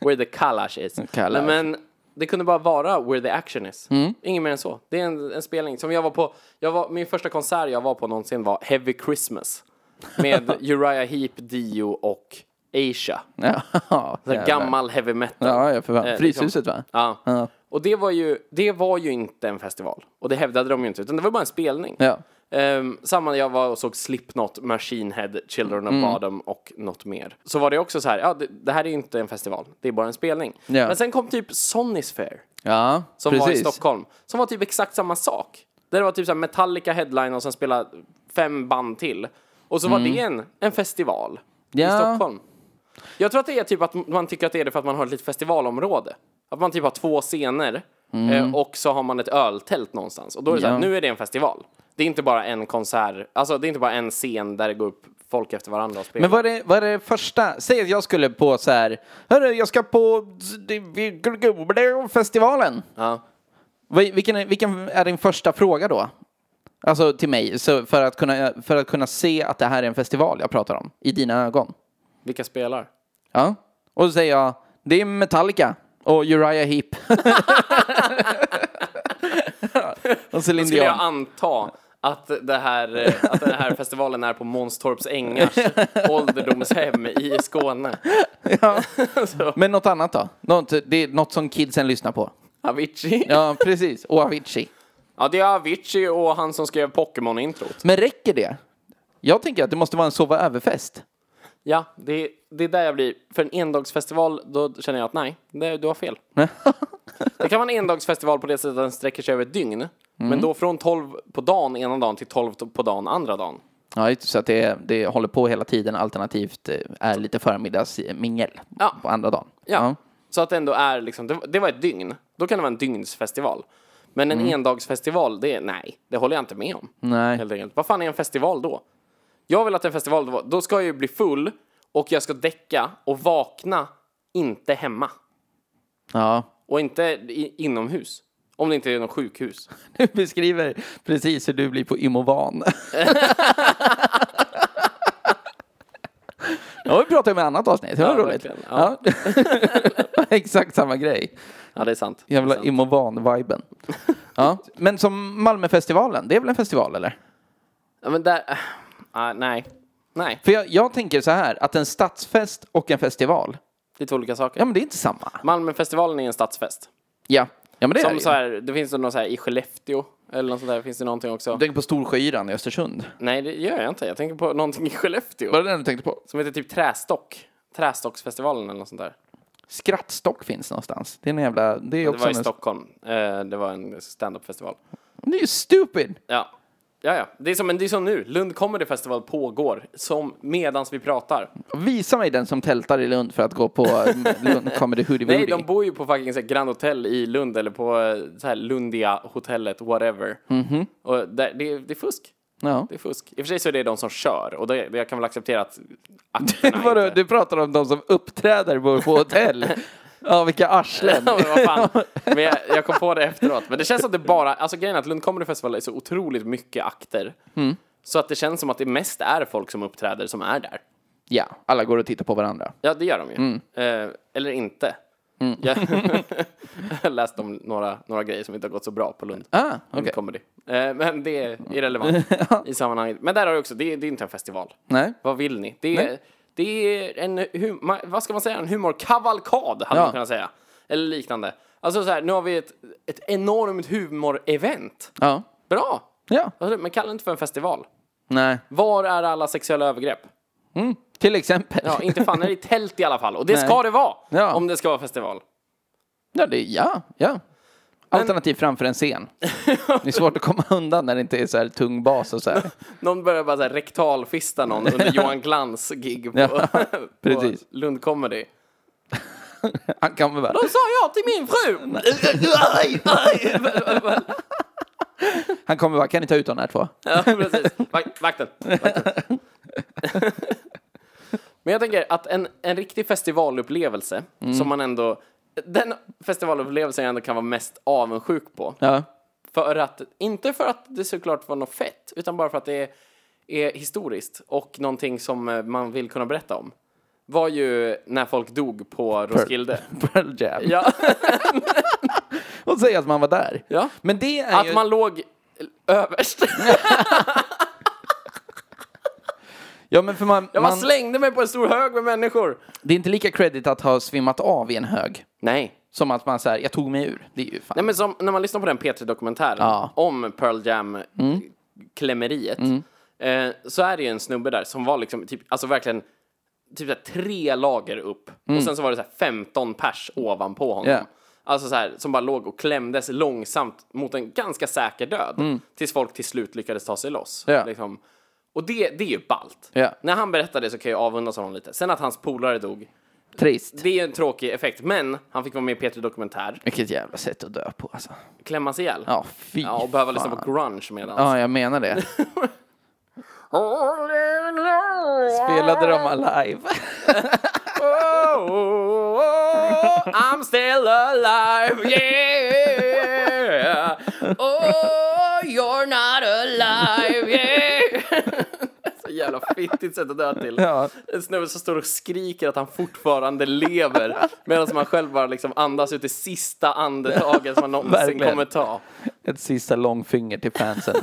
[SPEAKER 1] where the kalash is.
[SPEAKER 2] Kalash. Mm.
[SPEAKER 1] Nej, men det kunde bara vara where the action is. Inget mer än så. Det är en, en spelning som jag var på. Jag var, min första konsert jag var på någonsin var Heavy Christmas. Med Uriah Heep, Dio och Asia.
[SPEAKER 2] Ja,
[SPEAKER 1] Så här
[SPEAKER 2] jävlar.
[SPEAKER 1] gammal heavy metal.
[SPEAKER 2] Ja, ja, för fan.
[SPEAKER 1] Eh,
[SPEAKER 2] Fryshuset va?
[SPEAKER 1] Ja. Och det var, ju, det var ju inte en festival. Och det hävdade de ju inte, utan det var bara en spelning.
[SPEAKER 2] Ja.
[SPEAKER 1] Ehm, samma när jag var och såg Slipknot, Machine Head, Children of Bodom och något mer. Så var det också så här, ja, det, det här är ju inte en festival, det är bara en spelning.
[SPEAKER 2] Ja.
[SPEAKER 1] Men sen kom typ Sonisphere,
[SPEAKER 2] Ja,
[SPEAKER 1] som var i
[SPEAKER 2] precis.
[SPEAKER 1] Stockholm, som var typ exakt samma sak. Där det var typ så här Metallica headline och sen spelade fem band till. Och så var det en, en festival i
[SPEAKER 2] Mm. Ja.
[SPEAKER 1] Stockholm. Jag tror att det är typ att man tycker att det är det för att man har ett litet festivalområde. Att man typ har två scener eh, och så har man ett öltält någonstans. Och då är det så
[SPEAKER 2] Mm. Ja.
[SPEAKER 1] här, nu är det en festival. Det är inte bara en konsert, alltså det är inte bara en scen där det går upp folk efter varandra och spelar.
[SPEAKER 2] Men vad är, det, vad är det första? Säg att jag skulle på så här, hörru, jag ska på festivalen.
[SPEAKER 1] ja.
[SPEAKER 2] Vil- Vilken är, vilken är din första fråga då? Alltså till mig, så för, att kunna, för att kunna se att det här är en festival jag pratar om, i dina ögon.
[SPEAKER 1] Vilka spelar?
[SPEAKER 2] Ja. Och så säger jag, det är Metallica och Uriah Heep. och Céline
[SPEAKER 1] Skulle jag
[SPEAKER 2] Dion.
[SPEAKER 1] anta att, det här, eh, att den här festivalen är på Månstorps ängars ålderdomshem i Skåne.
[SPEAKER 2] Ja.
[SPEAKER 1] Så,
[SPEAKER 2] Men något annat då? Något, det är något som kidsen lyssnar på.
[SPEAKER 1] Avicii. Ja.
[SPEAKER 2] Ja, precis. Och Avicii.
[SPEAKER 1] det är Avicii och han som skrev Pokémon-introt.
[SPEAKER 2] Men räcker det? Jag tänker att det måste vara en sova över-fest.
[SPEAKER 1] Ja, det, det är där jag blir. För en endagsfestival, då känner jag att nej, det, du har fel. Det kan vara en endagsfestival på det sättet att den sträcker sig över ett dygn. Men då från 12 på dagen ena dagen till 12 på dagen andra dagen.
[SPEAKER 2] Ja, just det, så att det, det håller på hela tiden alternativt eh, är lite förmiddagsmingel
[SPEAKER 1] Ja.
[SPEAKER 2] på andra dagen.
[SPEAKER 1] Ja. Så att det ändå är liksom, det, det var ett dygn. Då kan det vara en dygnsfestival. Men en endagsfestival, det är nej, det håller jag inte med om.
[SPEAKER 2] Mm. Nej.
[SPEAKER 1] Helt enkelt. Vad fan är en festival då? Jag vill att en festival, då- då ska jag ju bli full och jag ska däcka och vakna inte hemma.
[SPEAKER 2] Ja.
[SPEAKER 1] Och inte i, inomhus. Om det inte är något sjukhus.
[SPEAKER 2] Du beskriver precis hur du blir på Imovan. Ja, vi pratade om ett annat avsnitt. Det var
[SPEAKER 1] Ja,
[SPEAKER 2] roligt.
[SPEAKER 1] verkligen.
[SPEAKER 2] Ja.
[SPEAKER 1] Ja.
[SPEAKER 2] Exakt samma grej.
[SPEAKER 1] Ja, det är sant. Det är
[SPEAKER 2] Jävla
[SPEAKER 1] sant.
[SPEAKER 2] Imovan-viben. Ja. Men som Malmöfestivalen, det är väl en festival eller?
[SPEAKER 1] Ja, men där... Ah, nej. Nej,
[SPEAKER 2] För jag, jag tänker så här, att en stadsfest och en festival,
[SPEAKER 1] det är två olika saker.
[SPEAKER 2] ja men det är inte samma.
[SPEAKER 1] Malmöfestivalen är en stadsfest.
[SPEAKER 2] Ja, ja men det är det
[SPEAKER 1] Som
[SPEAKER 2] ju.
[SPEAKER 1] så här, det finns någon så här i Skellefteå eller något sånt där. Finns det någonting också?
[SPEAKER 2] Jag tänker på Storsjöyran i Östersund.
[SPEAKER 1] Nej, det gör jag inte. Jag tänker på någonting i Skellefteå.
[SPEAKER 2] Var det den du tänkte på?
[SPEAKER 1] Som heter typ Trästock. Trästocksfestivalen eller något sånt där.
[SPEAKER 2] Skrattstock finns någonstans. Det är en jävla... Det är
[SPEAKER 1] Det
[SPEAKER 2] också
[SPEAKER 1] var i
[SPEAKER 2] en...
[SPEAKER 1] Stockholm. Eh, Det var en stand-up-festival.
[SPEAKER 2] Det är ju stupid!
[SPEAKER 1] Ja. Ja, ja. Det är som, men det är som nu. Lund Comedy Festival pågår som medans vi pratar.
[SPEAKER 2] Visa mig den som tältar i Lund för att gå på eh, Lund Comedy Hoodie
[SPEAKER 1] Nej,
[SPEAKER 2] Woody.
[SPEAKER 1] de bor ju på fucking så här, Grand Hotel i Lund eller på eh, så här, Lundia hotellet, whatever.
[SPEAKER 2] Mhm.
[SPEAKER 1] Och där, det, det är fusk.
[SPEAKER 2] Ja.
[SPEAKER 1] Det är fusk. I och för sig så är det de som kör och det, jag kan väl acceptera att akterna
[SPEAKER 2] Vadå,
[SPEAKER 1] inte...
[SPEAKER 2] du pratar om de som uppträder på på hotell? Ja, vilka arslen.
[SPEAKER 1] Ja, men vad fan. Men jag, jag kom på det efteråt. Men det känns att det bara, alltså grejen är att Lund Comedy Festival är så otroligt mycket akter.
[SPEAKER 2] Mm.
[SPEAKER 1] Så att det känns som att det mest är folk som uppträder som är där.
[SPEAKER 2] Ja, alla går och tittar på varandra.
[SPEAKER 1] Ja, det gör de ju.
[SPEAKER 2] Mm.
[SPEAKER 1] Eh, eller inte. Jag jag har läst om några, några grejer som inte har gått så bra på Lund.
[SPEAKER 2] Ah, okej.
[SPEAKER 1] Lund Comedy. Eh, men det är irrelevant i sammanhanget. Men där har du också, det, är- det är inte en festival.
[SPEAKER 2] Nej.
[SPEAKER 1] Vad vill ni? Det är, det är en, hu- ma- vad ska man säga, en humorkavalkad hade
[SPEAKER 2] Ja.
[SPEAKER 1] man kunnat säga. Eller liknande. Alltså så här, nu har vi ett, ett enormt humorevent.
[SPEAKER 2] Ja.
[SPEAKER 1] Bra!
[SPEAKER 2] Ja.
[SPEAKER 1] Alltså, Men kalla det inte för en festival.
[SPEAKER 2] Nej.
[SPEAKER 1] Var är alla sexuella övergrepp?
[SPEAKER 2] Mm. Till exempel.
[SPEAKER 1] Ja, inte fan är det i tält i alla fall. Och det
[SPEAKER 2] Nej.
[SPEAKER 1] ska det vara!
[SPEAKER 2] Ja.
[SPEAKER 1] Om det ska vara festival.
[SPEAKER 2] Ja, det, ja, ja. Alternativ framför en scen. Det är svårt att komma undan när det inte är så här tung bas och så här.
[SPEAKER 1] Någon börjar bara så här rektalfista någon under Johan Glans gig på,
[SPEAKER 2] Ja,
[SPEAKER 1] på
[SPEAKER 2] precis.
[SPEAKER 1] Lund Comedy.
[SPEAKER 2] Han kan väl bara...
[SPEAKER 1] Då sa jag till min fru!
[SPEAKER 2] Han kommer bara, kan ni ta ut de här två?
[SPEAKER 1] Ja, precis. Vak- Vakten. Vakten. Men jag tänker att en, en riktig festivalupplevelse
[SPEAKER 2] Mm.
[SPEAKER 1] som man ändå... Den festivalupplevelsen jag ändå kan vara mest avundsjuk på.
[SPEAKER 2] Ja.
[SPEAKER 1] För att, inte för att det såklart var något fett, utan bara för att det är, är historiskt och någonting som eh, man vill kunna berätta om. Var ju när folk dog på Roskilde.
[SPEAKER 2] Pearl Jam.
[SPEAKER 1] Ja.
[SPEAKER 2] Och säga att man var där.
[SPEAKER 1] Ja.
[SPEAKER 2] Men det är ju...
[SPEAKER 1] Att man låg överst.
[SPEAKER 2] Ja, men för man,
[SPEAKER 1] Jag bara
[SPEAKER 2] man...
[SPEAKER 1] slängde mig på en stor hög med människor.
[SPEAKER 2] Det är inte lika credit att ha svimmat av i en hög.
[SPEAKER 1] Nej,
[SPEAKER 2] Som att man säger, jag tog mig ur. Det är ju fan.
[SPEAKER 1] Nej, men som, när man lyssnar på den P3-dokumentären
[SPEAKER 2] Ja. Mm.
[SPEAKER 1] om Pearl Jam-klämmeriet eh, så är det ju en snubbe där som var liksom, typ, alltså verkligen typ så här, tre lager upp och sen så var det så här 15 pers ovanpå honom.
[SPEAKER 2] Mm. Ja.
[SPEAKER 1] Alltså så här, som bara låg och klämdes långsamt mot en ganska säker död tills folk till slut lyckades ta sig loss.
[SPEAKER 2] Mm. Ja.
[SPEAKER 1] Liksom. Och det, det är ju ballt.
[SPEAKER 2] Ja.
[SPEAKER 1] När han berättade så kan jag avundas honom lite. Sen att hans polare dog,
[SPEAKER 2] Trist.
[SPEAKER 1] det är ju en tråkig effekt. Men han fick vara med i P3 Dokumentär,
[SPEAKER 2] Vilket jävla sätt att dö på alltså.
[SPEAKER 1] klämmas ihjäl.
[SPEAKER 2] Ja, fy
[SPEAKER 1] Ja, och behöva liksom
[SPEAKER 2] fan.
[SPEAKER 1] lyssna på grunge medan.
[SPEAKER 2] Ja, jag menar det. Spelade de alive?
[SPEAKER 1] I'm still alive, yeah! Oh, you're not alive, yeah! Så jävla fittigt sätt att dö till.
[SPEAKER 2] Ja.
[SPEAKER 1] En snubbe som står och skriker att han fortfarande lever medan man själv bara liksom andas ut det sista andetaget som man någonsin
[SPEAKER 2] Verkligen.
[SPEAKER 1] kommer ta.
[SPEAKER 2] Ett sista långfinger till fansen.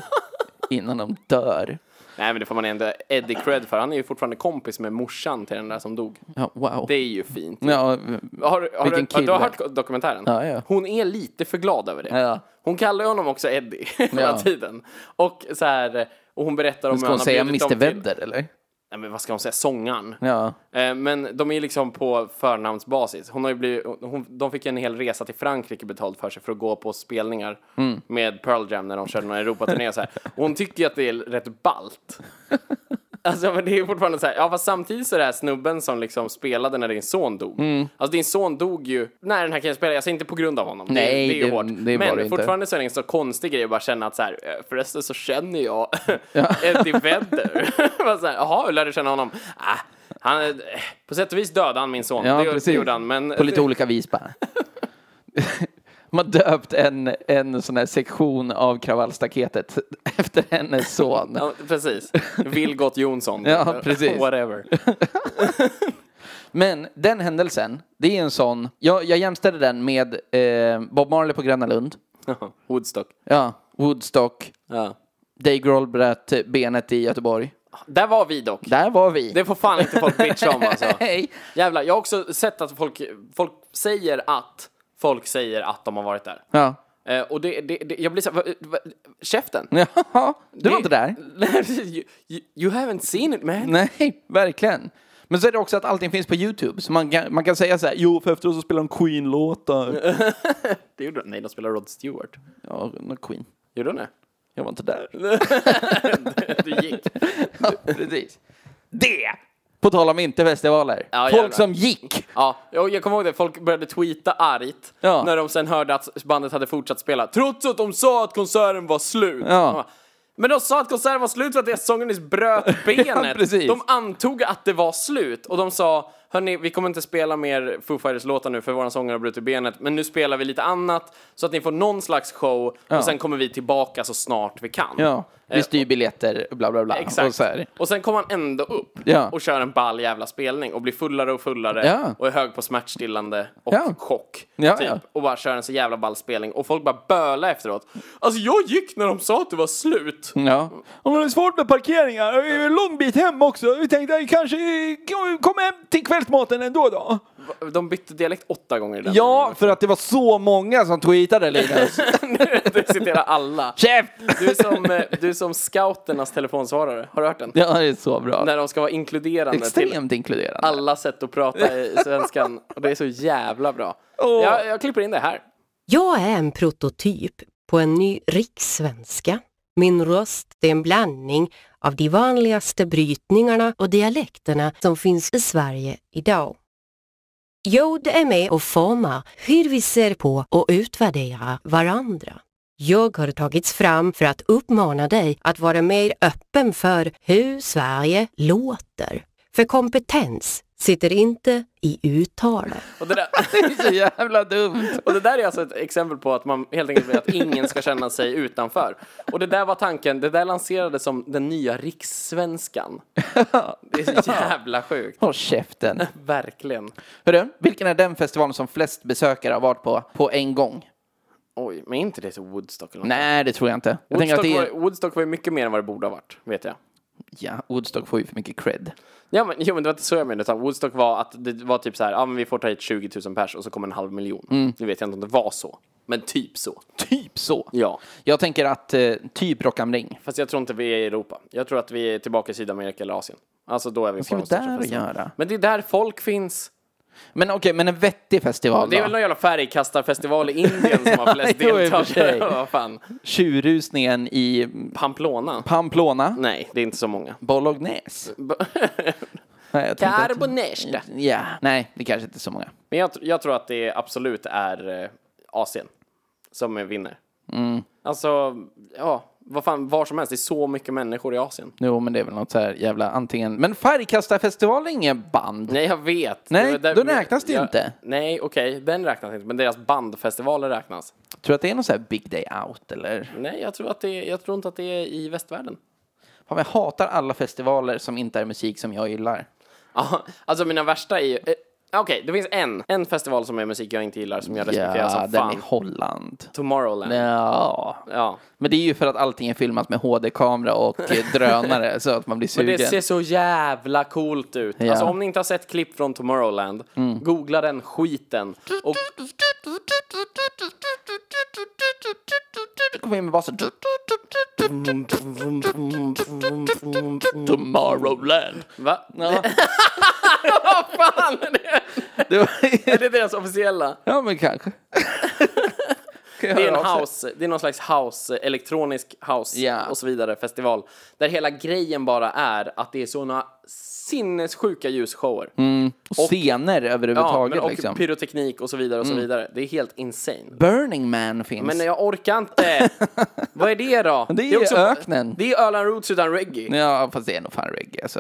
[SPEAKER 2] Innan de dör.
[SPEAKER 1] Nej, men det får man ändå Eddie cred för. Han är ju fortfarande kompis med morsan till den där som dog.
[SPEAKER 2] Ja, wow.
[SPEAKER 1] Det är ju fint.
[SPEAKER 2] Ja,
[SPEAKER 1] Har, du- har,
[SPEAKER 2] Mm. Vilken
[SPEAKER 1] du, ja, du har
[SPEAKER 2] kille.
[SPEAKER 1] hört dokumentären?
[SPEAKER 2] Ja, ja.
[SPEAKER 1] Hon är lite för glad över det.
[SPEAKER 2] Ja.
[SPEAKER 1] Hon kallar ju honom också Eddie hela
[SPEAKER 2] Ja.
[SPEAKER 1] tiden. Och, så här, och hon berättar om
[SPEAKER 2] ska hon
[SPEAKER 1] har
[SPEAKER 2] säga
[SPEAKER 1] bjudit dem
[SPEAKER 2] Mr.
[SPEAKER 1] till-
[SPEAKER 2] Vedder eller?
[SPEAKER 1] Nej, men vad ska hon säga? Sångaren.
[SPEAKER 2] Ja.
[SPEAKER 1] Eh, Men de är ju liksom på förnamnsbasis. Hon har ju blivit, hon, de fick en hel resa till Frankrike betald för sig för att gå på spelningar
[SPEAKER 2] Mm.
[SPEAKER 1] med Pearl Jam när de körde någon Europaturné och så här. Och hon tycker ju att det är rätt balt. Alltså men det är ju fortfarande så här, ja fast samtidigt så är det här snubben som liksom spelade när din son dog.
[SPEAKER 2] Mm.
[SPEAKER 1] Alltså din son dog ju när den här killen spelade, jag säger inte på grund av honom. Det är-
[SPEAKER 2] Nej,
[SPEAKER 1] det är ju
[SPEAKER 2] det-
[SPEAKER 1] hårt.
[SPEAKER 2] det var
[SPEAKER 1] men
[SPEAKER 2] det inte.
[SPEAKER 1] fortfarande så är det en så konstig grej att bara känna att så här, eh, förresten så känner jag Eddie Vedder. Bara så här, Jaha, hur lär du känna honom? Ah, han, är- på sätt och vis dödade han min son,
[SPEAKER 2] Ja,
[SPEAKER 1] det
[SPEAKER 2] precis.
[SPEAKER 1] gjorde han. Men
[SPEAKER 2] På lite olika vis bara. Man döpt en, en sån här sektion av kravallstaketet efter hennes son.
[SPEAKER 1] Ja, precis. Vilgot Jonsson. typ.
[SPEAKER 2] Ja, precis.
[SPEAKER 1] Whatever.
[SPEAKER 2] Men den händelsen, det är en sån, jag, jag jämställde den med eh, Bob Marley på Gröna Lund,
[SPEAKER 1] Woodstock.
[SPEAKER 2] ja, Woodstock,
[SPEAKER 1] Ja.
[SPEAKER 2] Dave Grohl bröt benet i Göteborg.
[SPEAKER 1] Där var vi dock.
[SPEAKER 2] Där var vi.
[SPEAKER 1] Det får fan inte folk bitcha om alltså.
[SPEAKER 2] Hej.
[SPEAKER 1] Jävlar, jag har också sett att folk, folk säger att folk säger att de har varit där.
[SPEAKER 2] Ja.
[SPEAKER 1] Eh, och det, det, det, jag blir så här, va- va- käften!
[SPEAKER 2] Jaha, du var inte där.
[SPEAKER 1] you, you- you haven't seen it man!
[SPEAKER 2] Nej, verkligen. Men så är det också att allting finns på YouTube. Så man kan, man kan säga så här, jo, för efteråt så spelar de Queen-låtar.
[SPEAKER 1] Det gjorde de. Nej, de spelar Rod Stewart.
[SPEAKER 2] ja, någon Queen.
[SPEAKER 1] Gjorde de det?
[SPEAKER 2] Jag var inte där.
[SPEAKER 1] Du gick.
[SPEAKER 2] Ja, precis. Det! På tal om inte festivaler.
[SPEAKER 1] Ja, jävlar.
[SPEAKER 2] Folk som gick.
[SPEAKER 1] Ja, jag, jag kommer ihåg det. Folk började tweeta argt
[SPEAKER 2] Ja.
[SPEAKER 1] när de sen hörde att bandet hade fortsatt spela. Trots att de sa att konserten var slut. De bara, Men de sa att konserten var slut för att deras sångarnis bröt benet.
[SPEAKER 2] precis.
[SPEAKER 1] de antog att det var slut och de sa Hörni, vi kommer inte spela mer Foo Fighters-låtar nu för våran sångare har brutit benet. Men nu spelar vi lite annat så att ni får någon slags show och sen kommer vi tillbaka så snart vi kan.
[SPEAKER 2] Ja,
[SPEAKER 1] Eh,
[SPEAKER 2] vi styr biljetter, bla bla bla.
[SPEAKER 1] Exakt.
[SPEAKER 2] Och så här.
[SPEAKER 1] Och sen kommer han ändå upp
[SPEAKER 2] Ja.
[SPEAKER 1] och kör en ball jävla spelning och blir fullare och fullare
[SPEAKER 2] Ja.
[SPEAKER 1] och är hög på smärtstillande och
[SPEAKER 2] Ja.
[SPEAKER 1] chock.
[SPEAKER 2] Ja,
[SPEAKER 1] typ.
[SPEAKER 2] ja.
[SPEAKER 1] Och bara kör en så jävla ball spelning och folk bara bölar efteråt. Alltså jag gick när de sa att det var slut.
[SPEAKER 2] Ja.
[SPEAKER 3] Ja, men det är svårt med parkeringar. Det är en lång bit hem också. Vi tänkte eh, kanske eh, kom- kom hem till kvällsmaten ändå då.
[SPEAKER 1] De bytte dialekt åtta gånger i den
[SPEAKER 2] Mm. ja, för att det var så många som tweetade Linus.
[SPEAKER 1] meningen. Du citerar alla.
[SPEAKER 2] Käft!
[SPEAKER 1] Du är, som, eh, du är som scouternas telefonsvarare. Har du hört den?
[SPEAKER 2] Ja, det är så bra.
[SPEAKER 1] När de ska vara inkluderande till
[SPEAKER 2] Extremt inkluderande.
[SPEAKER 1] alla sätt att prata i svenskan. Och det är så jävla bra. Jag, jag klipper in det här.
[SPEAKER 4] Jag är en prototyp på en ny rikssvenska. Min röst är en blandning av de vanligaste brytningarna och dialekterna som finns i Sverige idag. Jag är med och formar hur vi ser på och utvärderar varandra. Jag har tagits fram för att uppmana dig att vara mer öppen för hur Sverige låter. För kompetens sitter inte i uttalet.
[SPEAKER 1] Och det där...
[SPEAKER 2] Det är så jävla dumt.
[SPEAKER 1] Och det där är alltså ett exempel på att man helt enkelt vill att ingen ska känna sig utanför. Och det där var tanken, det där lanserades som den nya rikssvenskan. Det är så jävla sjukt.
[SPEAKER 2] Håll käften.
[SPEAKER 1] Verkligen.
[SPEAKER 2] Hörru, vilken är den festivalen som flest besökare har varit på på en gång?
[SPEAKER 1] Oj, men är inte det så Woodstock eller något?
[SPEAKER 2] Nej, det tror jag inte. Jag tänker
[SPEAKER 1] Woodstock,
[SPEAKER 2] att det är...
[SPEAKER 1] var, Woodstock var ju mycket mer än vad det borde ha varit, vet jag.
[SPEAKER 2] Ja, Woodstock får ju för mycket cred.
[SPEAKER 1] Ja, men, jo, men det var inte så jag menade, utan Woodstock var att det var typ så här, ja men vi får ta hit 20 000 pers och så kommer en halv miljon. Nu vet jag inte om det var så, men typ så.
[SPEAKER 2] Typ så.
[SPEAKER 1] Ja,
[SPEAKER 2] Jag tänker att eh, typ Rock am Ring.
[SPEAKER 1] fast jag tror inte vi är i Europa. Jag tror att vi är tillbaka i Sydamerika eller Asien. Alltså då är vi
[SPEAKER 2] Vad ska vi
[SPEAKER 1] på de största
[SPEAKER 2] där att
[SPEAKER 1] festerna.
[SPEAKER 2] göra?
[SPEAKER 1] Men det är där folk finns.
[SPEAKER 2] Men okej, men en vettig festival
[SPEAKER 1] Det är
[SPEAKER 2] då?
[SPEAKER 1] väl någon jävla färgkastarfestival i Indien som har flest
[SPEAKER 2] Jo, i och för sig.
[SPEAKER 1] deltagare. Vad fan.
[SPEAKER 2] Tjurrusningen i
[SPEAKER 1] Pamplona?
[SPEAKER 2] Pamplona,
[SPEAKER 1] Nej, det är inte så många.
[SPEAKER 2] Bolognese. Nej, jag tror inte att-
[SPEAKER 1] Carbonesta.
[SPEAKER 2] Ja, nej, det kanske inte är så många.
[SPEAKER 1] Men jag, tr- jag tror att det absolut är eh, Asien som eh, vinner.
[SPEAKER 2] Mm.
[SPEAKER 1] Alltså, ja, vad fan, var som helst. Det är så mycket människor i Asien.
[SPEAKER 2] Jo, men det är väl något så här jävla antingen... Men Färgkastarfestival är ingen band.
[SPEAKER 1] Nej, jag vet.
[SPEAKER 2] Nej,
[SPEAKER 1] Det var där-
[SPEAKER 2] då räknas det
[SPEAKER 1] jag,
[SPEAKER 2] inte.
[SPEAKER 1] Nej, okej, den räknas inte. Men deras bandfestivaler räknas.
[SPEAKER 2] Tror du att det är någon så här Big Day Out eller?
[SPEAKER 1] Nej, jag tror, att det, jag tror inte att det är i västvärlden.
[SPEAKER 2] Fan, jag hatar alla festivaler som inte är musik som jag gillar.
[SPEAKER 1] Ja, alltså mina värsta är ju... eh, Okej, det finns en. En festival som är musik jag inte gillar som jag respekterar som
[SPEAKER 2] den
[SPEAKER 1] fan.
[SPEAKER 2] i Holland.
[SPEAKER 1] Tomorrowland.
[SPEAKER 2] Ja.
[SPEAKER 1] Ja.
[SPEAKER 2] Men det är ju för att allting är filmat med HD-kamera och eh, drönare så att man blir
[SPEAKER 1] Men
[SPEAKER 2] sugen.
[SPEAKER 1] det ser så jävla coolt ut.
[SPEAKER 2] Ja. Mm.
[SPEAKER 1] Alltså om ni inte har sett klipp från Tomorrowland, googla den skiten. Och
[SPEAKER 2] Det kommer in med basen. Tomorrowland.
[SPEAKER 1] va?
[SPEAKER 2] Ja,
[SPEAKER 1] Vad fan är det?
[SPEAKER 2] det var...
[SPEAKER 1] Är det deras officiella?
[SPEAKER 2] ja men kanske.
[SPEAKER 1] Det är en house, det är någon slags house, elektronisk house
[SPEAKER 2] Ja.
[SPEAKER 1] och så vidare festival. Där hela grejen bara är att det är såna sinnessjuka ljusshower.
[SPEAKER 2] Scener
[SPEAKER 1] Ja,
[SPEAKER 2] överhuvudtaget
[SPEAKER 1] men, och
[SPEAKER 2] Mm, liksom. Mm.
[SPEAKER 1] pyroteknik och så vidare och så vidare. Det är helt insane.
[SPEAKER 2] Burning Man finns.
[SPEAKER 1] Men jag orkar inte. Vad är det då?
[SPEAKER 2] det är öknen.
[SPEAKER 1] Det är Öland Roots utan reggae.
[SPEAKER 2] Ja, fast det är nog fan reggae alltså.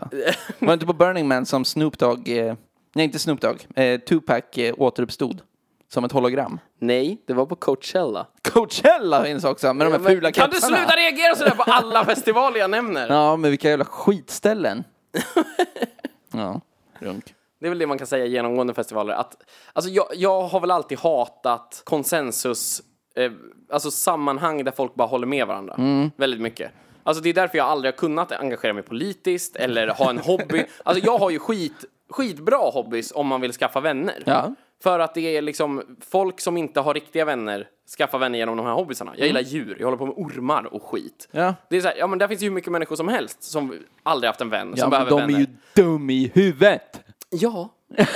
[SPEAKER 2] Var det inte på Burning Man som Snoop Dogg, eh, nej inte Snoop Dogg, eh, Tupac eh, återuppstod? Som ett hologram.
[SPEAKER 1] Nej, det var på Coachella.
[SPEAKER 2] Coachella finns också med de här fula
[SPEAKER 1] kan du
[SPEAKER 2] kretsarna.
[SPEAKER 1] sluta reagera sådär på alla festivaler jag nämner?
[SPEAKER 2] Ja, men vilka jävla skitställen. ja, runk.
[SPEAKER 1] Det är väl det man kan säga genomgående festivaler. Att, alltså jag, jag har väl alltid hatat konsensus, eh, alltså sammanhang där folk bara håller med varandra.
[SPEAKER 2] Mm.
[SPEAKER 1] Väldigt mycket. Alltså det är därför jag aldrig har kunnat engagera mig politiskt eller ha en hobby. Alltså jag har ju skit, skitbra hobbys om man vill skaffa vänner.
[SPEAKER 2] Ja.
[SPEAKER 1] För att det är liksom folk som inte har riktiga vänner skaffar vänner genom de här hobbysarna. Jag gillar djur, jag håller på med ormar och skit.
[SPEAKER 2] Mm. Ja.
[SPEAKER 1] Det är så här, ja men där finns ju hur mycket människor som helst som aldrig haft en vän,
[SPEAKER 2] Ja,
[SPEAKER 1] som
[SPEAKER 2] men
[SPEAKER 1] behöver
[SPEAKER 2] de
[SPEAKER 1] vänner.
[SPEAKER 2] är ju dum i huvudet.
[SPEAKER 1] Ja.